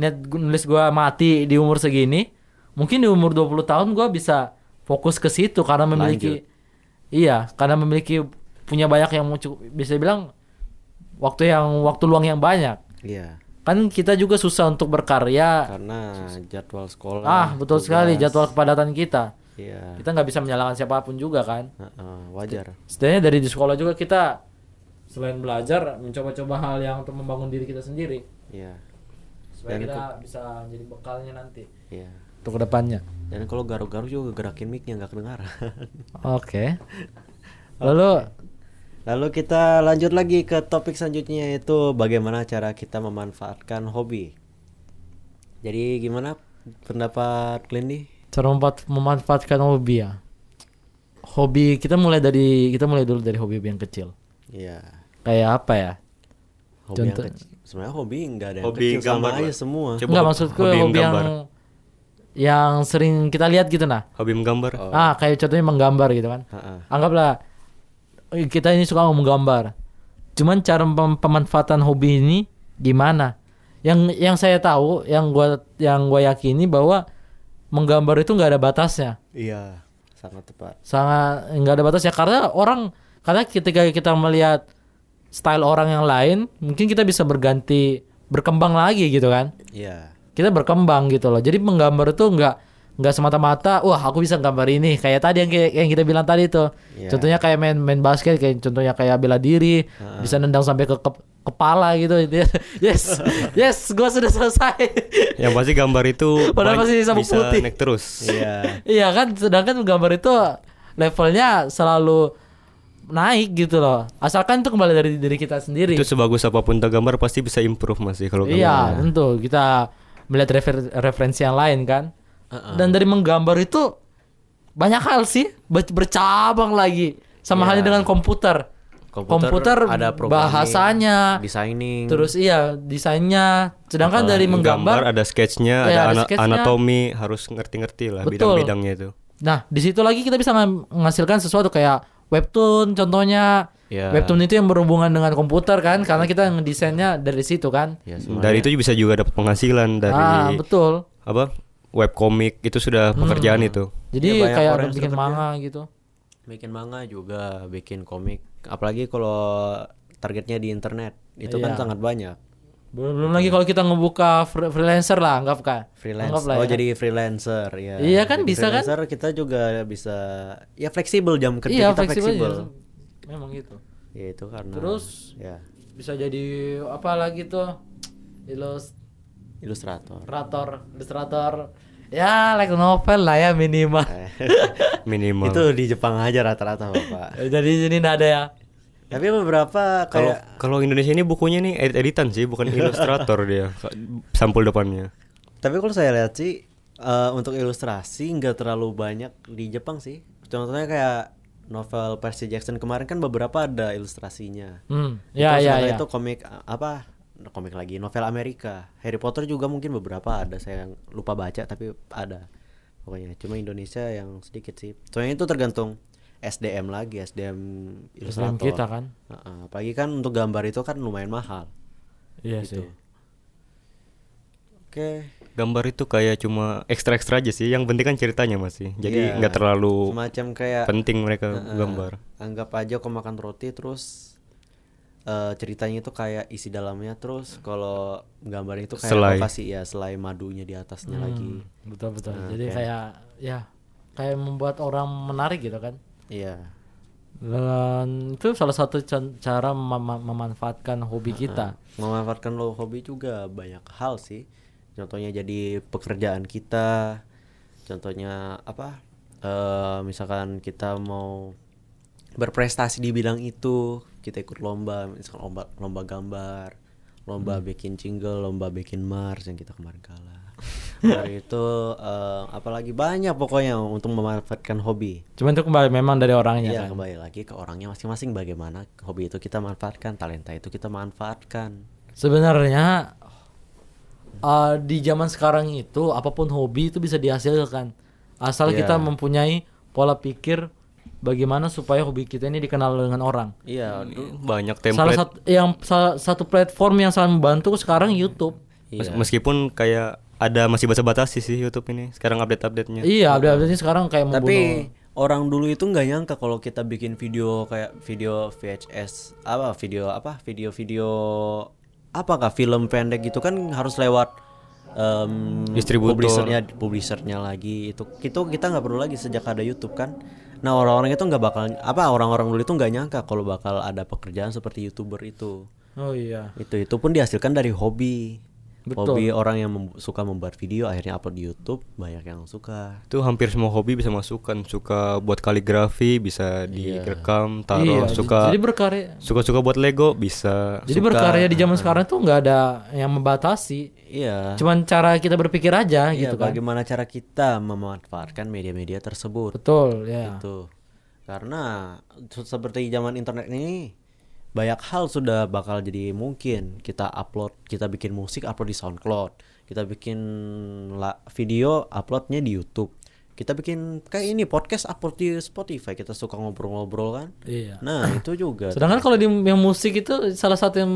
Speaker 1: niat gu- nulis gua mati di umur segini, mungkin di umur 20 tahun gua bisa fokus ke situ karena memiliki Iya, karena memiliki punya banyak yang mau cukup bisa bilang waktu yang waktu luang yang banyak.
Speaker 2: Iya.
Speaker 1: Kan kita juga susah untuk berkarya.
Speaker 2: Karena jadwal sekolah. kan.
Speaker 1: Ah, betul sekali jadwal kepadatan kita. Nah.
Speaker 2: Iya.
Speaker 1: Kita nggak bisa menyalahkan siapapun juga kan.
Speaker 2: Heeh, wajar.
Speaker 1: Setidaknya dari di sekolah juga kita selain belajar mencoba-coba hal yang untuk membangun diri kita sendiri
Speaker 2: Iya.
Speaker 1: supaya
Speaker 2: Dan
Speaker 1: kita bisa menjadi bekalnya nanti
Speaker 2: Iya.
Speaker 1: untuk kedepannya.
Speaker 2: Dan kalau garuk-garuk juga gerakin mic-nya nggak kedengaran.
Speaker 1: Oke. Lalu
Speaker 2: Lalu kita lanjut lagi ke topik selanjutnya yaitu bagaimana cara kita memanfaatkan hobi. Jadi gimana pendapat Glendy?
Speaker 1: cara mempat- memanfaatkan hobi ya hobi kita mulai dari kita mulai dulu dari hobi yang kecil
Speaker 2: Iya.
Speaker 1: kayak apa ya
Speaker 2: Hobi yang
Speaker 1: Contoh-
Speaker 2: kecil. Sebenarnya hobi nggak ada yang
Speaker 3: Hobi
Speaker 2: kecil sama
Speaker 3: gambar
Speaker 2: aja
Speaker 3: lah.
Speaker 2: semua.
Speaker 1: nggak
Speaker 3: Coba hobi-
Speaker 1: maksudku
Speaker 3: hobi
Speaker 1: hobi, yang
Speaker 3: menggambar.
Speaker 1: yang sering kita lihat gitu nah
Speaker 3: Hobi menggambar.
Speaker 1: ah kayak contohnya menggambar gitu kan
Speaker 2: Heeh.
Speaker 1: anggaplah eh, kita ini suka menggambar cuman cara pem- pemanfaatan hobi ini gimana yang yang saya tahu yang gua yang gua yakini bahwa menggambar itu nggak ada batasnya
Speaker 2: Iya. Sangat tepat.
Speaker 1: sangat nggak ada batas ya karena orang karena ketika kita melihat style orang yang lain mungkin kita bisa berganti berkembang lagi gitu kan
Speaker 2: Iya.
Speaker 1: kita berkembang gitu loh jadi menggambar itu nggak nggak semata-mata wah aku bisa gambar ini kayak tadi yang ki- yang kita bilang tadi tuh
Speaker 2: Iya.
Speaker 1: contohnya kayak main main basket kayak contohnya kayak bela diri bisa nendang sampai ke, ke- kepala gitu yes yes gua sudah selesai
Speaker 3: Yang pasti gambar itu
Speaker 1: Padahal masih
Speaker 3: banyak-
Speaker 1: sabuk
Speaker 3: bisa
Speaker 1: putih.
Speaker 3: naik terus.
Speaker 2: Iya.
Speaker 1: Iya kan, sedangkan gambar itu levelnya selalu naik gitu loh. Asalkan itu kembali dari diri kita sendiri.
Speaker 3: Itu sebagus apapun tuh gambar pasti bisa improve masih kalau
Speaker 1: iya,
Speaker 3: gambar.
Speaker 1: tentu kita melihat refer- referensi yang lain kan. Dan dari menggambar itu banyak hal sih ber- bercabang lagi. Sama halnya dengan komputer.
Speaker 2: ada programming,
Speaker 1: bahasanya,
Speaker 2: designing.
Speaker 1: terus iya desainnya. Sedangkan dari menggambar
Speaker 3: ada
Speaker 1: Iya,
Speaker 3: sketchnya, ada,
Speaker 1: ada
Speaker 3: ana-
Speaker 1: sketchnya.
Speaker 3: anatomi, harus ngerti-ngerti lah
Speaker 1: Betul.
Speaker 3: bidang-bidangnya itu.
Speaker 1: Nah, di situ lagi kita bisa meng- menghasilkan sesuatu kayak webtoon contohnya
Speaker 2: Ya.
Speaker 1: Webtoon itu yang berhubungan dengan komputer kan, karena kita ngedesainnya dari situ kan.
Speaker 2: Ya,
Speaker 3: dari itu bisa juga dapat penghasilan dari
Speaker 1: Ah betul.
Speaker 3: apa webkomik itu sudah pekerjaan itu
Speaker 1: Jadi
Speaker 2: Ya, banyak
Speaker 1: kayak
Speaker 2: orang
Speaker 1: udah bikin manga gitu.
Speaker 2: bikin manga juga bikin komik apalagi kalau targetnya di internet itu
Speaker 1: Iya.
Speaker 2: kan sangat banyak
Speaker 1: Belum, belum lagi kalau kita ngebuka fr- freelancer lah, anggap kan.
Speaker 2: freelance
Speaker 1: Anggap lah
Speaker 2: oh
Speaker 1: ya.
Speaker 2: jadi freelancer ya
Speaker 1: Iya kan,
Speaker 2: Jadi
Speaker 1: bisa kan?
Speaker 2: freelancer kita juga bisa ya fleksibel jam kerja
Speaker 1: Iya,
Speaker 2: kita
Speaker 1: fleksibel.
Speaker 2: fleksibel,
Speaker 1: ya. Memang gitu.
Speaker 2: ya itu karena
Speaker 1: Terus?
Speaker 2: ya
Speaker 1: Bisa jadi apa lagi tuh? Ilustrator,
Speaker 2: ilustrator
Speaker 1: ilustrator. Ya, like novel lah ya minimal.
Speaker 2: Eh.
Speaker 3: minimal
Speaker 2: itu di Jepang aja rata-rata bapak
Speaker 1: jadi sini nggak ada ya.
Speaker 2: tapi beberapa
Speaker 3: kalau
Speaker 2: kayak
Speaker 3: kalau Indonesia ini bukunya nih edit editan sih bukan ilustrator dia ka- sampul depannya
Speaker 2: Tapi kalau saya lihat sih eh, untuk ilustrasi nggak terlalu banyak di Jepang sih. Contohnya kayak novel Percy Jackson kemarin kan beberapa ada ilustrasinya.
Speaker 1: Hmm.
Speaker 2: Itu
Speaker 1: Ya, ya,
Speaker 2: sebenarnya
Speaker 1: ya.
Speaker 2: Itu komik eh, apa? Komik lagi novel Amerika. Harry Potter juga mungkin beberapa ada saya yang lupa baca tapi ada. Pokoknya cuma Indonesia yang sedikit sih. Soalnya itu tergantung SDM lagi, SDM ilustrator.
Speaker 1: kita kan.
Speaker 2: Heeh, apalagi kan untuk gambar itu kan lumayan mahal.
Speaker 1: Iya
Speaker 2: Gitu.
Speaker 1: sih.
Speaker 2: Oke.
Speaker 3: gambar itu kayak cuma ekstra ekstra aja sih yang penting kan ceritanya masih
Speaker 2: Iya,
Speaker 3: jadi nggak terlalu
Speaker 2: semacam kayak
Speaker 3: penting mereka
Speaker 2: Heeh.
Speaker 3: gambar
Speaker 2: Anggap aja kau makan roti terus eh, ceritanya itu kayak isi dalamnya terus kalau gambar itu kayak
Speaker 3: Selai.
Speaker 2: apa sih ya selai madunya di
Speaker 1: Hmm.
Speaker 2: atasnya lagi.
Speaker 1: Betul betul.
Speaker 2: Ah,
Speaker 1: Jadi kayak ya kayak membuat orang menarik gitu kan.
Speaker 2: Iya.
Speaker 1: Dan itu salah satu can- cara mema- memanfaatkan hobi
Speaker 2: Ah,
Speaker 1: kita.
Speaker 2: Memanfaatkan lo hobi juga banyak hal sih. Contohnya jadi pekerjaan kita. Contohnya apa? eh misalkan kita mau berprestasi di bidang itu, kita ikut lomba, misalkan lomba, lomba gambar, lomba bikin jingle, lomba bikin mars yang kita kemarin kalah. Dari itu eh, apalagi banyak pokoknya untuk memanfaatkan hobi.
Speaker 1: Cuman itu kembali memang dari orangnya
Speaker 2: Iya,
Speaker 1: kan.
Speaker 2: kembali lagi ke orangnya masing-masing bagaimana hobi itu kita manfaatkan, talenta itu kita manfaatkan.
Speaker 1: Sebenarnya eh, di zaman sekarang itu apapun hobi itu bisa dihasilkan asal
Speaker 2: Iya.
Speaker 1: kita mempunyai pola pikir bagaimana supaya hobi kita ini dikenal dengan orang.
Speaker 2: Iya,
Speaker 3: banyak
Speaker 1: Salah
Speaker 3: template
Speaker 1: satu yang salah satu platform yang sangat membantu sekarang YouTube.
Speaker 3: Mes- meskipun kayak ada masih basa-batasi sih YouTube ini sekarang update-update-nya
Speaker 1: Iya, update-update ini sekarang kayak membunuh.
Speaker 2: Tapi orang dulu itu nggak nyangka kalau kita bikin video kayak video VHS apa video apa video-video apakah film pendek gitu kan harus lewat em,
Speaker 3: Distributor.
Speaker 2: publishernya publishernya lagi itu itu kita nggak perlu lagi sejak ada YouTube kan nah orang-orang itu nggak bakal apa orang-orang dulu itu nggak nyangka kalau bakal ada pekerjaan seperti youtuber itu
Speaker 1: Oh iya.
Speaker 2: itu itu pun dihasilkan dari hobi
Speaker 1: Betul.
Speaker 2: hobi orang yang mem- suka membuat video akhirnya upload di YouTube banyak yang suka
Speaker 3: itu hampir semua hobi bisa masukkan suka buat kaligrafi bisa direkam
Speaker 1: iya,
Speaker 3: taruh
Speaker 1: j-
Speaker 3: suka
Speaker 1: Jadi berkarya.
Speaker 3: suka suka buat Lego bisa
Speaker 1: Jadi berkarya di zaman sekarang tuh nggak ada yang membatasi.
Speaker 2: iya
Speaker 1: Cuman cara kita berpikir aja
Speaker 2: Iya,
Speaker 1: gitu kan.
Speaker 2: bagaimana cara kita memanfaatkan media-media tersebut
Speaker 1: Betul, ya.
Speaker 2: itu karena se- seperti zaman internet ini banyak hal sudah bakal jadi mungkin kita upload kita bikin musik upload di SoundCloud kita bikin la- video uploadnya di YouTube kita bikin kayak ini podcast upload di Spotify kita suka ngobrol-ngobrol kan
Speaker 1: Iya.
Speaker 2: nah itu juga
Speaker 1: Sedangkan kalau di yang musik itu salah satu yang,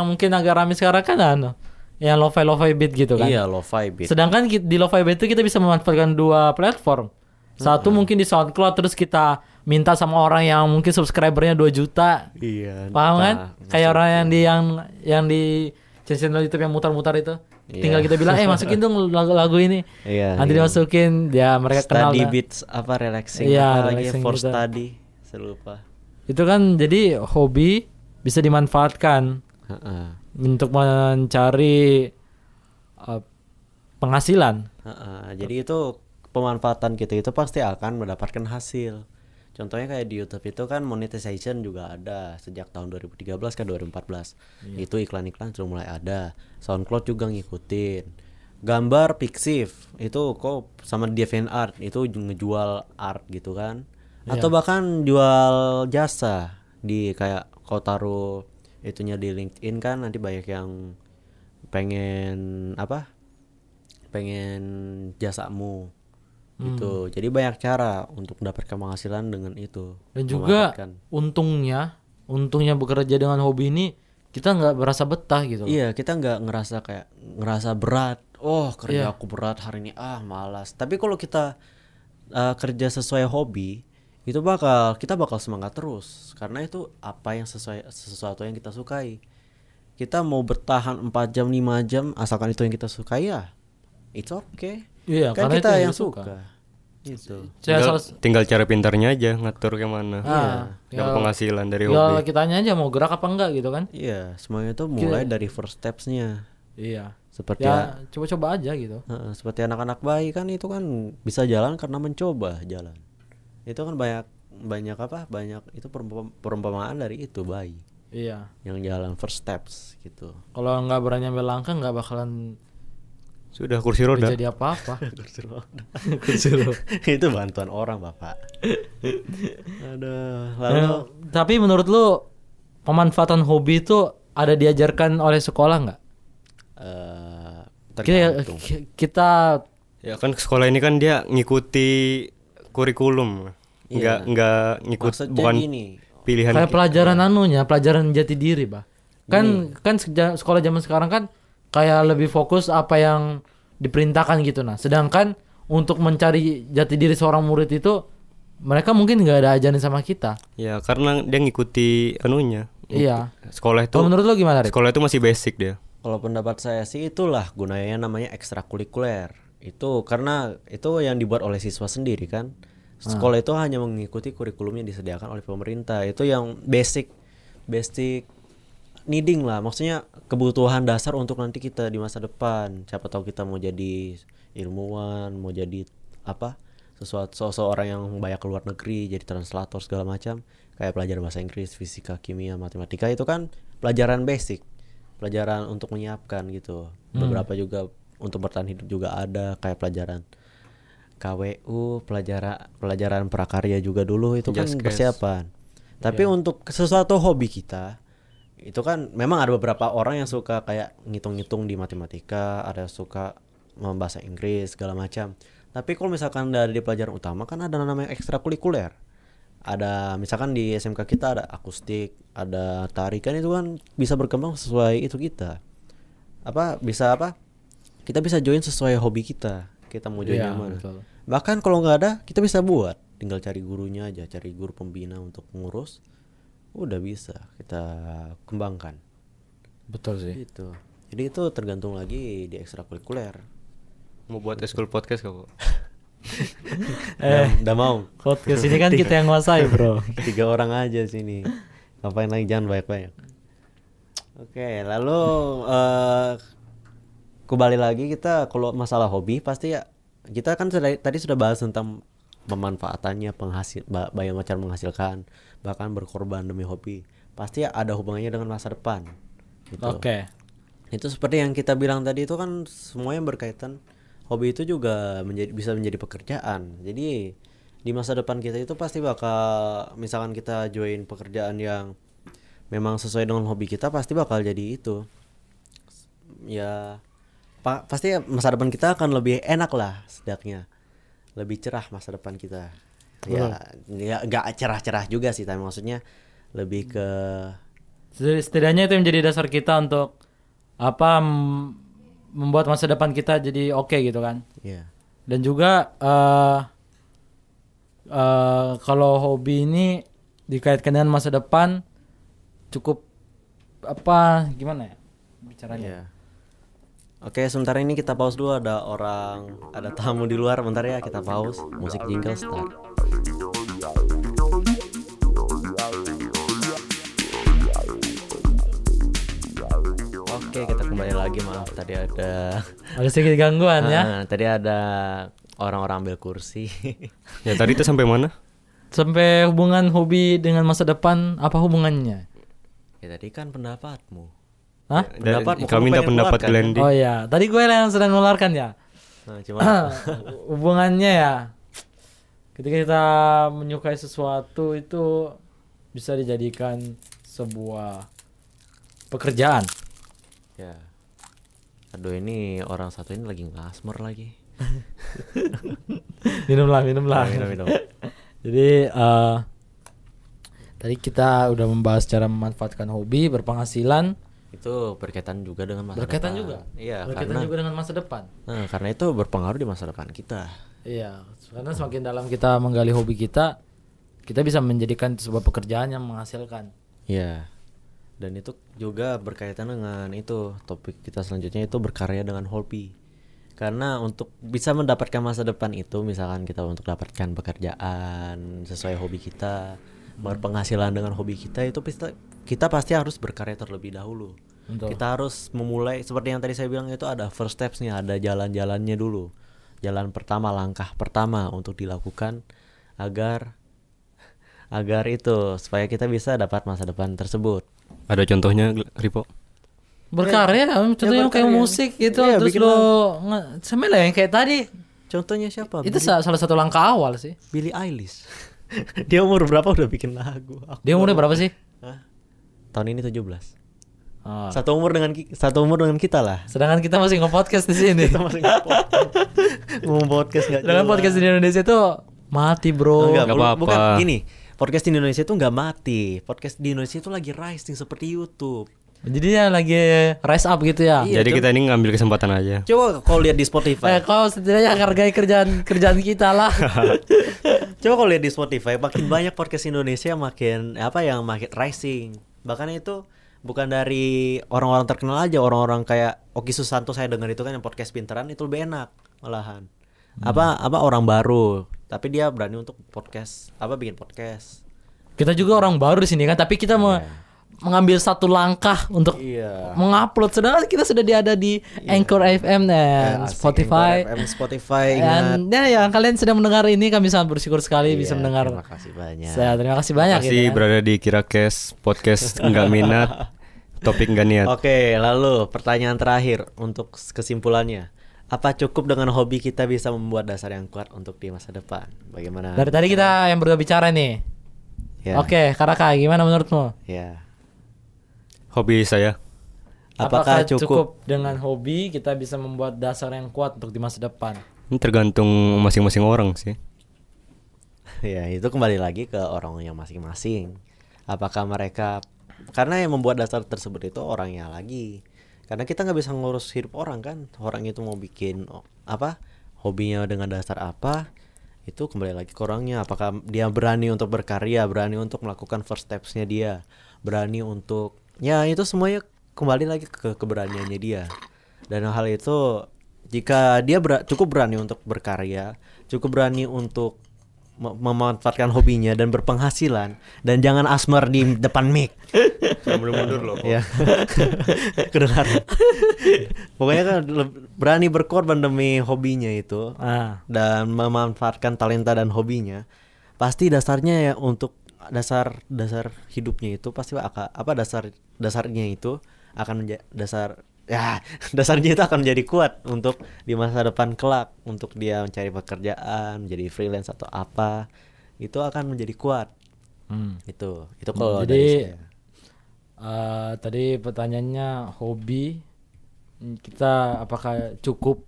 Speaker 1: yang mungkin agak rame sekarang kan anu, yang lo-fi lo-fi beat gitu kan.
Speaker 2: iya lo-fi beat
Speaker 1: Sedangkan ki- di lo-fi beat itu kita bisa memanfaatkan dua platform. Satu
Speaker 2: Hmm.
Speaker 1: mungkin di SoundCloud terus kita minta sama orang yang mungkin subscribernya 2 juta.
Speaker 2: iya
Speaker 1: Paham
Speaker 2: nah,
Speaker 1: kan? Kayak orang yang di yang yang di channel YouTube yang mutar-mutar itu. Tinggal kita bilang, "Eh, masukin dong lagu-lagu ini."
Speaker 2: Iya,
Speaker 1: Nanti
Speaker 2: iya.
Speaker 1: dimasukin, ya mereka kenal.
Speaker 2: study
Speaker 1: dah.
Speaker 2: beats apa relaxing
Speaker 1: Iya,
Speaker 2: apa lagi
Speaker 1: relaxing
Speaker 2: for
Speaker 1: gitu.
Speaker 2: study saya lupa
Speaker 1: Itu kan jadi hobi bisa dimanfaatkan
Speaker 2: Heeh.
Speaker 1: untuk mencari eh, penghasilan.
Speaker 2: Heeh, jadi itu pemanfaatan kita itu pasti akan mendapatkan hasil. Contohnya kayak di YouTube itu kan monetization juga ada sejak tahun 2013 ke 2014. Itu iklan-iklan sudah mulai ada. SoundCloud juga ngikutin. Gambar Pixiv itu kok sama DeviantArt itu ngejual art gitu kan. Atau bahkan jual jasa di kayak kau taruh itunya di LinkedIn kan nanti banyak yang pengen apa pengen jasamu
Speaker 1: Hmm.
Speaker 2: gitu jadi banyak cara untuk mendapatkan penghasilan dengan itu
Speaker 1: Dan juga
Speaker 2: Memanfaatkan.
Speaker 1: untungnya untungnya bekerja dengan hobi ini kita nggak berasa betah gitu loh.
Speaker 2: Iya, kita nggak ngerasa kayak ngerasa berat. Oh,
Speaker 1: Iya.
Speaker 2: kerja aku berat hari ini. Ah, malas. Tapi kalau kita uh, kerja sesuai hobi, itu bakal kita bakal semangat terus karena itu apa yang sesuai sesuatu yang kita sukai. Kita mau bertahan 4 jam, 5 jam asalkan itu yang kita sukai ya. It's okay.
Speaker 1: Iya,
Speaker 2: kan
Speaker 1: karena itu
Speaker 2: kita
Speaker 1: yang
Speaker 2: yang
Speaker 1: dia suka.
Speaker 2: suka. Gitu.
Speaker 1: Saya
Speaker 3: tinggal,
Speaker 1: salah- Ah,
Speaker 3: tinggal cara pintarnya aja ngatur kemana Dapat
Speaker 1: tinggal-
Speaker 3: penghasilan dari
Speaker 1: Tinggal
Speaker 3: hobi
Speaker 1: kitanya ya, aja mau gerak apa enggak gitu kan?
Speaker 2: Iya, semuanya itu mulai dari first steps-nya.
Speaker 1: Iya.
Speaker 2: Seperti
Speaker 1: Ya coba-coba aja gitu.
Speaker 2: Heeh, seperti anak-anak bayi kan itu kan bisa jalan karena mencoba jalan. Itu kan banyak banyak apa? Banyak itu perumpam- perumpamaan dari itu bayi
Speaker 1: Iya.
Speaker 2: yang jalan first steps gitu.
Speaker 1: Kalau nggak berani ambil langkah nggak bakalan
Speaker 3: sudah kursi roda
Speaker 1: jadi apa-apa.
Speaker 2: itu bantuan orang bapak. Aduh, lalu
Speaker 1: Eh, Tapi menurut lu pemanfaatan hobi itu ada diajarkan oleh sekolah nggak?
Speaker 2: eh,
Speaker 1: Kita,
Speaker 2: tergantung.
Speaker 1: ki- kita
Speaker 3: ya kan sekolah ini kan dia ngikuti kurikulum nggak nggak ngikut
Speaker 2: Maksudnya
Speaker 3: bukan
Speaker 2: gini.
Speaker 3: pilihan
Speaker 1: Iya. kayak pelajaran anunya, pelajaran jati diri, bah. Kan kan seja- sekolah zaman sekarang kan kayak lebih fokus apa yang diperintahkan gitu nah. Sedangkan untuk mencari jati diri seorang murid itu mereka mungkin nggak ada ajaran sama kita.
Speaker 3: ya karena dia ngikuti anunya
Speaker 1: Iya.
Speaker 3: sekolah itu
Speaker 1: Kalau menurut lo gimana, Rik?
Speaker 3: sekolah itu masih basic dia
Speaker 2: Kalau pendapat saya sih itulah gunanya namanya ekstrakurikuler. Itu karena itu yang dibuat oleh siswa sendiri kan. Sekolah itu hanya mengikuti kurikulum yang disediakan oleh pemerintah. Itu yang basic basic needing lah. Maksudnya kebutuhan dasar untuk nanti kita di masa depan. Siapa tahu kita mau jadi ilmuwan, mau jadi apa? sesuatu seseorang yang banyak keluar negeri jadi translator segala macam kayak pelajaran bahasa Inggris, fisika, kimia, matematika itu kan pelajaran basic pelajaran untuk menyiapkan gitu. Beberapa juga untuk bertahan hidup juga ada kayak pelajaran KWU, pelajaran pelajaran prakarya juga dulu itu kan persiapan. Tapi untuk sesuatu hobi kita itu kan memang ada beberapa orang yang suka kayak ngitung-ngitung di matematika, ada suka bahasa Inggris segala macam. Tapi kalau misalkan dari pelajaran utama kan ada namanya ekstrakurikuler ada misalkan di SMK kita ada akustik, ada tarikan itu kan bisa berkembang sesuai itu kita. Apa bisa apa? Kita bisa join sesuai hobi kita. Kita mau join
Speaker 1: Iya,
Speaker 2: yang mana.
Speaker 1: betul.
Speaker 2: Bahkan kalau nggak ada, kita bisa buat. Tinggal cari gurunya aja, cari guru pembina untuk ngurus. Udah bisa kita kembangkan.
Speaker 1: Betul sih.
Speaker 2: Gitu. Jadi itu tergantung lagi di ekstrakurikuler.
Speaker 3: mau buat school podcast kok Bu?
Speaker 2: Eh, udah mau.
Speaker 1: Podcast ini kan kita yang nguasai, Bro.
Speaker 2: tiga orang aja sini ngapain lagi jangan banyak banyak oke lalu eh kembali lagi kita kalau masalah hobi pasti ya kita kan sudah- tadi sudah bahas tentang pemanfaatannya penghasil ba- banyak macam menghasilkan bahkan berkorban demi hobi pasti ya ada hubungannya dengan masa depan gitu
Speaker 1: Oke.
Speaker 2: itu seperti yang kita bilang tadi itu kan semua yang berkaitan hobi itu juga menjadi bisa menjadi pekerjaan jadi di masa depan kita itu pasti bakal misalkan kita join pekerjaan yang memang sesuai dengan hobi kita pasti bakal jadi itu ya pa- pasti masa depan kita akan lebih enak lah setidaknya lebih cerah masa depan kita ya ya nggak cerah-cerah juga sih tapi maksudnya lebih ke
Speaker 1: Jadi Setidaknya itu yang menjadi dasar kita untuk apa m- membuat masa depan kita jadi oke gitu kan.
Speaker 2: ya
Speaker 1: Dan juga eh eh, kalau hobi ini dikaitkan dengan masa depan cukup apa gimana ya bicaranya?
Speaker 2: Iya. Oke, sebentar ini kita pause dulu ada orang, ada tamu di luar. Bentar ya, kita pause. Musik jingle start. Oke, kita kembali lagi. Maaf tadi ada
Speaker 1: Ada sedikit gangguan ya.
Speaker 2: Ah, tadi ada orang-orang ambil kursi.
Speaker 3: ya tadi itu sampai mana
Speaker 1: Sampai hubungan hobi dengan masa depan apa hubungannya?
Speaker 2: ya tadi kan pendapatmu.
Speaker 1: Hah?
Speaker 3: Dan
Speaker 2: Pendapatmu, kamu
Speaker 3: kami minta
Speaker 2: pengen
Speaker 3: pendapat
Speaker 2: keluarkan,
Speaker 3: Glendi
Speaker 1: Oh ya, tadi gue yang sedang menularkan ya.
Speaker 2: Nah,
Speaker 1: Ah.
Speaker 2: cuma
Speaker 1: hubungannya ya ketika kita menyukai sesuatu itu bisa dijadikan sebuah pekerjaan
Speaker 2: ya. Aduh ini orang satu ini lagi ngasmer lagi.
Speaker 1: minumlah minumlah
Speaker 2: Minum, minum.
Speaker 1: jadi eh, Tadi kita udah membahas cara memanfaatkan hobi berpenghasilan
Speaker 2: Itu berkaitan juga dengan masa
Speaker 1: berkaitan
Speaker 2: depan.
Speaker 1: juga.
Speaker 2: Iya,
Speaker 1: Berkaitan
Speaker 2: karena
Speaker 1: juga dengan masa depan.
Speaker 2: Nah, karena itu berpengaruh di masa depan kita.
Speaker 1: Iya, karena semakin dalam kita menggali hobi kita, kita bisa menjadikan sebuah pekerjaan yang menghasilkan.
Speaker 2: Iya. Dan itu juga berkaitan dengan itu topik kita selanjutnya itu berkarya dengan hobi. Karena untuk bisa mendapatkan masa depan itu misalkan kita untuk dapatkan pekerjaan sesuai hobi kita,
Speaker 1: Hmm.
Speaker 2: berpenghasilan dengan hobi kita itu pista- kita pasti harus berkarya terlebih dahulu.
Speaker 1: Betul.
Speaker 2: Kita harus memulai seperti yang tadi saya bilang itu ada first steps-nya, ada jalan-jalannya dulu. Jalan pertama, langkah pertama untuk dilakukan agar agar itu supaya kita bisa dapat masa depan tersebut.
Speaker 3: Ada contohnya Gl- Ripo?
Speaker 1: Ya, Berkarya, contohnya yang kayak
Speaker 2: berkarya.
Speaker 1: musik gitu,
Speaker 2: Iya,
Speaker 1: terus
Speaker 2: bikin
Speaker 1: lo nge- sama lah yang kayak tadi.
Speaker 2: Contohnya siapa?
Speaker 1: Itu sa- salah satu langkah awal sih.
Speaker 2: Billie Eilish. Dia umur berapa udah bikin lagu? Aku
Speaker 1: Dia umurnya berapa sih?
Speaker 2: Hah? Tahun ini 17.
Speaker 1: Ah.
Speaker 2: Satu umur dengan ki- satu umur dengan kita lah.
Speaker 1: Sedangkan kita masih nge-podcast di sini.
Speaker 2: Kita masih nge-podcast. ngomong podcast enggak.
Speaker 1: Sedangkan podcast di Indonesia itu mati, Bro.
Speaker 2: enggak,
Speaker 3: Oh, Nggak
Speaker 2: bu-
Speaker 3: apa-apa.
Speaker 2: bukan gini. Podcast di Indonesia itu nggak mati. Podcast di Indonesia itu lagi rising seperti YouTube.
Speaker 1: Jadi ya lagi rise up gitu ya.
Speaker 2: Iya,
Speaker 3: Jadi
Speaker 2: Cok.
Speaker 3: kita ini ngambil kesempatan aja.
Speaker 2: Coba kau lihat di
Speaker 1: Eh,
Speaker 2: Spotify.
Speaker 1: kau setidaknya hargai kerjaan kerjaan kita lah.
Speaker 2: Coba kalau lihat di Spotify, makin banyak podcast Indonesia makin apa yang makin rising. Bahkan itu bukan dari orang-orang terkenal aja, orang-orang kayak Oki Susanto saya dengar itu kan yang podcast pinteran itu lebih enak malahan.
Speaker 3: Hmm.
Speaker 2: Apa apa orang baru, tapi dia berani untuk podcast, apa bikin podcast.
Speaker 1: kita juga orang baru di sini kan, tapi kita me- mengambil satu langkah untuk
Speaker 2: Iya.
Speaker 1: mengupload. Sedangkan kita sudah diada di Anchor FM dan
Speaker 2: Eh, asik,
Speaker 1: Spotify.
Speaker 2: Anchor FM, Spotify ingat.
Speaker 1: Dan ya, ya, kalian sedang mendengar ini kami sangat bersyukur sekali bisa
Speaker 2: Iya,
Speaker 1: mendengar.
Speaker 2: Terima kasih banyak.
Speaker 1: Saya terima kasih banyak gitu
Speaker 3: Masih
Speaker 1: kan.
Speaker 3: berada di Kirakes podcast nggak minat, topik nggak niat.
Speaker 2: Oke, lalu pertanyaan terakhir untuk kesimpulannya. Apa cukup dengan hobi kita bisa membuat dasar yang kuat untuk di masa depan? Bagaimana?
Speaker 1: Dari tadi kita yang berdua bicara nih.
Speaker 2: Ya.
Speaker 1: Oke, Karaka gimana menurutmu?
Speaker 2: Ya.
Speaker 3: Hobi saya.
Speaker 2: Apakah, cukup?
Speaker 1: dengan hobi kita bisa membuat dasar yang kuat untuk di masa depan?
Speaker 3: Ini tergantung masing-masing orang sih.
Speaker 2: ya, itu kembali lagi ke orang yang masing-masing. Apakah mereka karena yang membuat dasar tersebut itu orangnya lagi. Karena kita nggak bisa ngurus hidup orang kan. Orang itu mau bikin o- apa? Hobinya dengan dasar apa? Itu kembali lagi ke orangnya. Apakah dia berani untuk berkarya, berani untuk melakukan first steps-nya dia, berani untuk ya itu semuanya kembali lagi ke keberaniannya dia. Dan hal itu jika dia bera- cukup berani untuk berkarya, cukup berani untuk mem- memanfaatkan hobinya dan berpenghasilan dan jangan asmar di depan mic.
Speaker 3: Belum mundur loh.
Speaker 2: ya. Kedengaran. Pokoknya kan le- berani berkorban demi hobinya itu
Speaker 1: Ah,
Speaker 2: dan memanfaatkan talenta dan hobinya. Pasti dasarnya ya untuk dasar dasar hidupnya itu pasti akan apa dasar dasarnya itu akan menja- dasar ya dasarnya itu akan menjadi kuat untuk di masa depan kelak untuk dia mencari pekerjaan menjadi freelance atau apa itu akan menjadi kuat
Speaker 1: hmm.
Speaker 2: itu itu kalau
Speaker 1: Jadi,
Speaker 2: dari saya. Iya,
Speaker 1: Eh, tadi pertanyaannya hobi Hmm, kita apakah cukup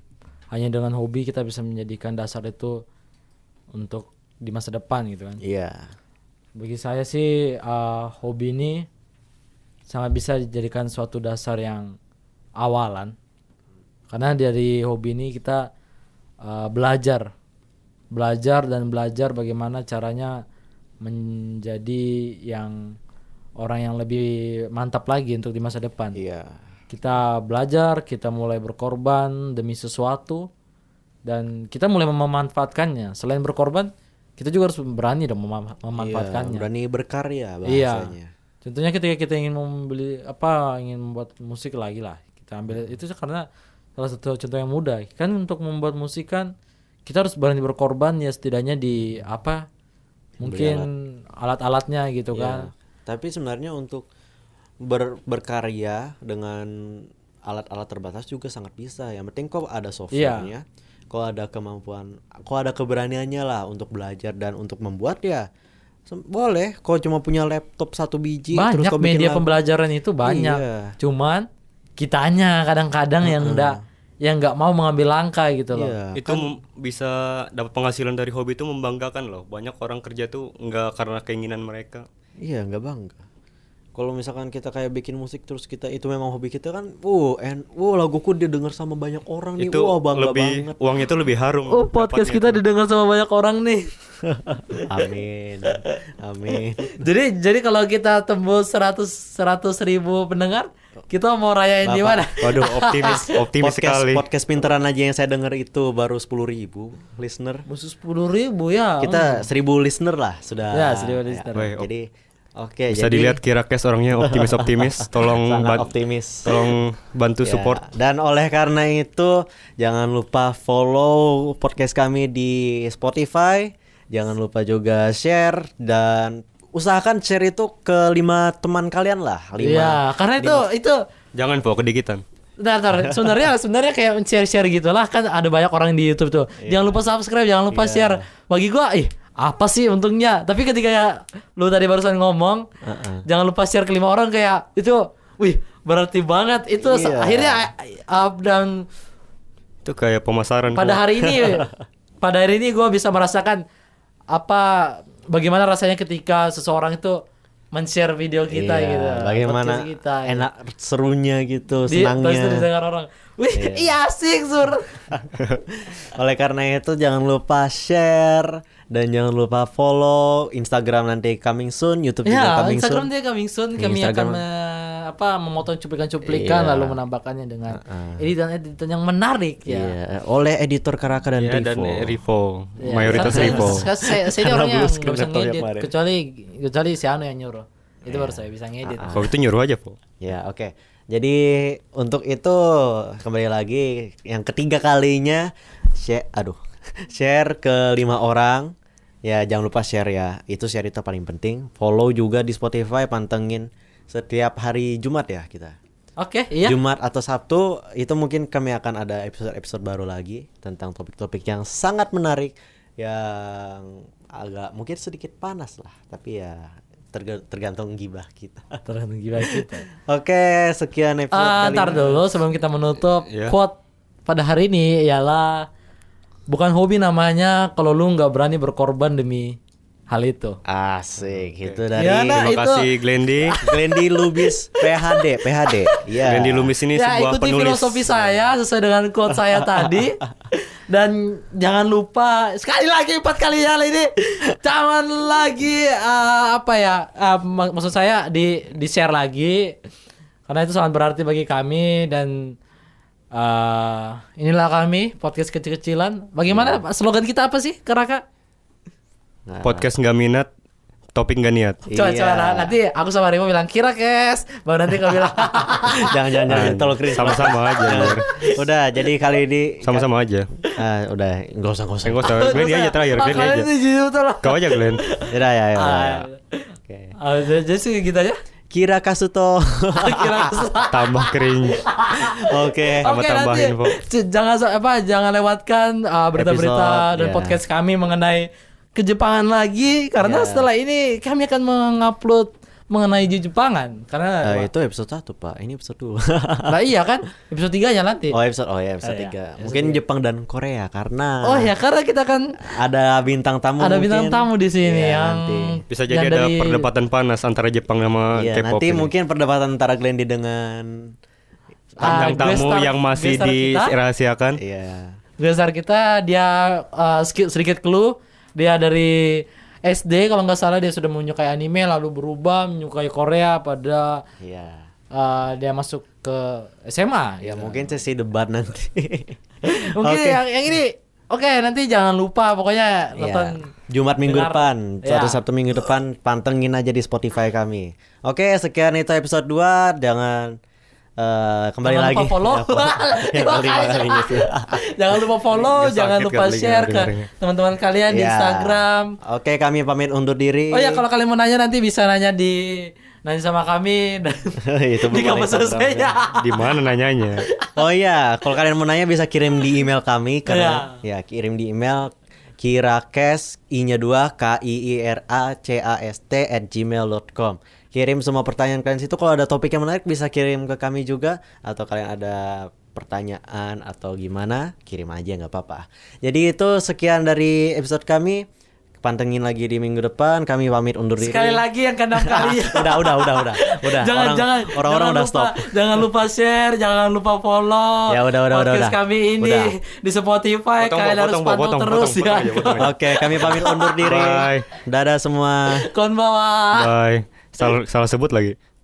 Speaker 1: hanya dengan hobi kita bisa menjadikan dasar itu untuk di masa depan gitu kan?
Speaker 2: iya
Speaker 1: Bagi saya sih eh, hobi ini sangat bisa dijadikan suatu dasar yang awalan. Karena dari hobi ini kita eh, belajar, belajar dan belajar bagaimana caranya menjadi yang orang yang lebih mantap lagi untuk di masa depan
Speaker 2: iya
Speaker 1: kita belajar, kita mulai berkorban demi sesuatu dan kita mulai memanfaatkannya. Selain berkorban, kita juga harus berani dong mema- memanfaatkannya.
Speaker 2: berani berkarya
Speaker 1: Iya.
Speaker 2: bahasanya
Speaker 1: Contohnya ketika kita ingin membeli apa, ingin membuat musik lagi lah, kita ambil itu karena salah satu contoh yang mudah. Kan untuk membuat musik kan kita harus berani berkorban ya setidaknya di apa? Mungkin alat-alatnya gitu kan.
Speaker 2: Tapi sebenarnya untuk ber- berkarya dengan alat-alat terbatas juga sangat bisa. Yang penting kok ada softwarenya,
Speaker 1: Iya.
Speaker 2: kok ada kemampuan, kok ada keberaniannya lah untuk belajar dan untuk membuat ya Sem- boleh. Kok cuma punya laptop satu biji
Speaker 1: banyak
Speaker 2: kau bikin
Speaker 1: media
Speaker 2: lagu.
Speaker 1: pembelajaran itu banyak
Speaker 2: Iya.
Speaker 1: cuman kitanya kadang-kadang yang enggak yang nggak mau mengambil langkah gitu loh
Speaker 2: Iya.
Speaker 3: Itu mem- bisa dapat penghasilan dari hobi itu membanggakan loh. Banyak orang kerja tuh nggak karena keinginan mereka.
Speaker 2: Iya nggak bangga. Kalau misalkan kita kayak bikin musik terus kita itu memang hobi kita kan, wow, and wow laguku didengar sama banyak orang nih,
Speaker 3: itu
Speaker 2: wow bangga
Speaker 3: lebih
Speaker 2: banget.
Speaker 3: uangnya itu lebih harum
Speaker 1: Oh podcast
Speaker 3: dapatnya.
Speaker 1: kita didengar sama banyak orang nih.
Speaker 2: Amin, amin.
Speaker 1: jadi jadi kalau kita tembus 100 100 ribu pendengar, kita mau rayain di mana?
Speaker 2: Bapak.
Speaker 3: waduh optimis optimis
Speaker 2: podcast,
Speaker 3: sekali
Speaker 2: Podcast pinteran aja yang saya denger itu baru 10.000 ribu listener.
Speaker 1: Musuh sepuluh ribu ya.
Speaker 2: Kita 1.000 listener lah sudah.
Speaker 1: Ya, 1.000 listener.
Speaker 3: Baik, Oh. op-
Speaker 2: Jadi oke
Speaker 3: bisa
Speaker 2: jadi
Speaker 3: dilihat kira kes orangnya optimis optimis tolong
Speaker 2: Sangat
Speaker 3: ban-
Speaker 2: optimis.
Speaker 3: tolong bantu
Speaker 2: Ya,
Speaker 3: support
Speaker 2: Dan oleh karena itu jangan lupa follow podcast kami di Spotify. Jangan lupa juga share dan usahakan share itu ke lima teman kalian lah. Lima.
Speaker 1: Iya, karena itu itu
Speaker 3: jangan po kedikitan
Speaker 1: Bentar, bentar. sebenarnya sebenarnya kayak share-share gitu lah kan ada banyak orang di YouTube tuh.
Speaker 2: Iya.
Speaker 1: Jangan lupa subscribe, jangan lupa share. Bagi gua ih apa sih untungnya? Tapi ketika lu tadi barusan ngomong, jangan lupa share ke lima orang kayak itu, wih berarti banget itu se-
Speaker 2: Iya.
Speaker 1: akhirnya eh, up dan
Speaker 3: itu kayak pemasaran
Speaker 1: pada
Speaker 3: Po.
Speaker 1: hari ini pada hari ini gua bisa merasakan apa bagaimana rasanya ketika seseorang itu men-share video kita
Speaker 2: Iya,
Speaker 1: gitu.
Speaker 2: Bagaimana
Speaker 1: podcast kita, gitu.
Speaker 2: enak serunya gitu,
Speaker 1: Di- terus
Speaker 2: senangnya.
Speaker 1: didengar orang. Wih, iya asik, Sur.
Speaker 2: Oleh karena itu jangan lupa share dan jangan lupa follow Instagram nanti coming soon, YouTube juga
Speaker 1: Ya,
Speaker 2: coming
Speaker 1: Instagram
Speaker 2: soon.
Speaker 1: dia coming soon.
Speaker 2: Di
Speaker 1: Kami akan
Speaker 2: Instagram.
Speaker 1: me- apa memotong cuplikan-cuplikan
Speaker 2: Iya. Uh-uh.
Speaker 1: lalu menambahkannya dengan editan-editan yang menarik ya.
Speaker 2: Iya, oleh editor Karaka dan
Speaker 3: ya,
Speaker 2: Rivo.
Speaker 3: dan Rivo
Speaker 1: Ya,
Speaker 3: mayoritas
Speaker 1: saya-
Speaker 3: Rivo
Speaker 1: saya- Saya, saya ini orangnya
Speaker 2: Karena belum
Speaker 1: nggak bisa
Speaker 2: script laptop yang
Speaker 1: ngedit
Speaker 2: kemarin. Iya.
Speaker 1: kecuali kecuali si Anu yang nyuruh. Itu baru saya bisa ngedit.
Speaker 2: Uh-uh.
Speaker 3: kalau itu nyuruh aja po
Speaker 1: Nah,
Speaker 2: Ya, oke. Jadi untuk itu kembali lagi yang ketiga kalinya share aduh, share ke lima orang. Ya, jangan lupa share ya. Itu share itu paling penting. Follow juga di Spotify, pantengin setiap hari Jumat ya kita.
Speaker 1: Oke, iya.
Speaker 2: Jumat atau Sabtu itu mungkin kami akan ada episode-episode baru lagi tentang topik-topik yang sangat menarik yang agak mungkin sedikit panas lah, tapi ya terga- tergantung gibah kita.
Speaker 1: Tergantung gila kita.
Speaker 2: Oke, sekian episode
Speaker 1: Ah,
Speaker 2: kali
Speaker 1: ntar
Speaker 2: ini.
Speaker 1: dulu sebelum kita menutup
Speaker 3: Iya.
Speaker 1: quote pada hari ini ialah bukan hobi namanya kalau lu nggak berani berkorban demi hal itu.
Speaker 2: Asik, itu dari
Speaker 1: Ya, nah,
Speaker 3: terima
Speaker 1: itu-
Speaker 3: kasih Glendi
Speaker 2: Glendy Lubis PHD, PHD. Iya.
Speaker 3: Glendi Lumis ini
Speaker 1: ya
Speaker 3: sebuah
Speaker 1: ikuti
Speaker 3: penulis
Speaker 1: filosofi saya sesuai dengan quote saya tadi dan jangan lupa sekali lagi empat kali hal ini jangan lagi eh, apa ya eh, mak- maksud saya di di share lagi karena itu sangat berarti bagi kami dan eh, inilah kami podcast kecil-kecilan bagaimana
Speaker 3: Iya.
Speaker 1: slogan kita apa sih Keraka
Speaker 2: Nah,
Speaker 3: podcast nggak minat topik nggak niat
Speaker 1: coba
Speaker 2: Iya.
Speaker 1: coba nah, nanti aku sama Rimo bilang kira kes baru nanti kau bilang
Speaker 2: jangan jangan jangan
Speaker 3: Nah,
Speaker 2: tolong Iya. kritis.
Speaker 3: sama-sama aja Nur.
Speaker 2: Udah, jadi kali ini
Speaker 3: sama-sama aja
Speaker 2: Ah, udah, enggak usah enggak usah.
Speaker 3: Enggak usah, Glenn aja terakhir, Glenn
Speaker 1: Makanya
Speaker 3: aja.
Speaker 1: itu jujur betul lah.
Speaker 3: Kau aja Iya. Glenn.
Speaker 2: Udah ya, ya. udah, ya. Oke.
Speaker 1: Ah, jadi jadi sih gitu aja
Speaker 2: Kira Kasuto.
Speaker 1: kira kes-
Speaker 3: Tambah kering.
Speaker 2: Oke.
Speaker 1: Oke
Speaker 3: Tambah-
Speaker 1: nanti
Speaker 3: tambahin, Pak.
Speaker 1: c- jangan so- apa jangan lewatkan uh, berita-berita
Speaker 2: Episode,
Speaker 1: dan
Speaker 2: ya.
Speaker 1: podcast kami mengenai kejepangan lagi karena
Speaker 2: Ya.
Speaker 1: setelah ini kami akan mengupload mengenai Jepangan
Speaker 2: Eh,
Speaker 1: karena
Speaker 2: itu episode 1, Pak. Ini episode 2.
Speaker 1: nah iya kan episode 3 nya nanti.
Speaker 2: oh, episode oh ya, episode
Speaker 1: Oh, iya.
Speaker 2: 3. Mungkin Jepang dan Korea karena
Speaker 1: Oh ya karena kita kan
Speaker 2: ada bintang tamu
Speaker 1: ada
Speaker 2: mungkin.
Speaker 1: bintang tamu di sini
Speaker 2: Iya,
Speaker 1: yang
Speaker 2: nanti.
Speaker 3: Bisa jadi
Speaker 1: yang
Speaker 3: ada
Speaker 1: dari-
Speaker 3: perdebatan panas antara Jepang sama
Speaker 2: Iya,
Speaker 3: Oh, K-pop.
Speaker 2: nanti
Speaker 3: ini.
Speaker 2: mungkin perdebatan antara Glendy dengan
Speaker 1: Ah,
Speaker 3: Bintang tamu
Speaker 1: guest star-
Speaker 3: Kan yang masih
Speaker 1: guest star kita.
Speaker 3: dirahasiakan.
Speaker 2: iya.
Speaker 1: Dasar kita dia uh, sedikit- sedikit clue dia dari SD kalau nggak salah dia sudah menyukai anime lalu berubah menyukai Korea pada
Speaker 2: Iya.
Speaker 1: uh, dia masuk ke SMA
Speaker 2: Ya mungkin sesi debat nanti.
Speaker 1: mungkin
Speaker 2: Oke.
Speaker 1: yang, yang ini oke nanti jangan lupa pokoknya
Speaker 2: Iya.
Speaker 1: nonton
Speaker 2: Jumat minggu
Speaker 1: Dengar.
Speaker 2: depan,
Speaker 1: Iya.
Speaker 2: atau Sabtu minggu depan pantengin aja di Spotify kami. Oke, sekian itu episode 2. Jangan eh, kembali
Speaker 1: jangan
Speaker 2: lagi.
Speaker 1: lupa follow
Speaker 2: Ya, follow. Yang
Speaker 1: Dua
Speaker 2: kelima
Speaker 1: kali.
Speaker 2: kalinya sih.
Speaker 1: jangan lupa
Speaker 2: Iya,
Speaker 1: follow
Speaker 3: Sakit
Speaker 1: jangan lupa
Speaker 3: kali
Speaker 1: share ke
Speaker 3: dengerin.
Speaker 1: teman-teman kalian di
Speaker 2: Ya.
Speaker 1: Instagram
Speaker 2: Oke, kami pamit undur diri.
Speaker 1: oh ya kalau kalian mau nanya nanti bisa nanya di nanya sama kami dan di
Speaker 2: Itu ya. belum ada
Speaker 1: kampus ya. selesai
Speaker 2: Instagramnya.
Speaker 3: Di mana nanyanya?
Speaker 2: Oh iya, kalau kalian mau nanya bisa kirim di email
Speaker 1: Iya.
Speaker 2: kami karena ya kirim di email kirakes i-nya 2 k i i r a c a s t at gmail.com kirim semua pertanyaan kalian situ kalau ada topik yang menarik bisa kirim ke kami juga atau kalian ada pertanyaan atau gimana kirim aja nggak apa-apa jadi itu sekian dari episode kami pantengin lagi di minggu depan. Kami pamit undur diri.
Speaker 1: Sekali lagi yang kandang kali.
Speaker 2: udah, udah, udah, udah. Udah.
Speaker 1: jangan
Speaker 2: orang,
Speaker 1: jangan
Speaker 2: orang-orang
Speaker 1: jangan
Speaker 2: udah
Speaker 1: lupa,
Speaker 2: stop.
Speaker 1: Jangan lupa share, jangan lupa follow.
Speaker 2: Ya, udah, udah, udah,
Speaker 1: podcast
Speaker 2: udah.
Speaker 1: kami ini
Speaker 2: Udah.
Speaker 1: di Spotify.
Speaker 3: Potong,
Speaker 1: Kalian
Speaker 3: potong,
Speaker 1: harus
Speaker 3: potong,
Speaker 1: pantau
Speaker 3: potong,
Speaker 1: terus
Speaker 3: potong,
Speaker 1: ya.
Speaker 3: potong aja, potong aja.
Speaker 2: Oke, kami pamit undur diri.
Speaker 3: Bye.
Speaker 2: Dadah semua.
Speaker 1: Kon bawah.
Speaker 3: Bye. Salah, salah sebut lagi.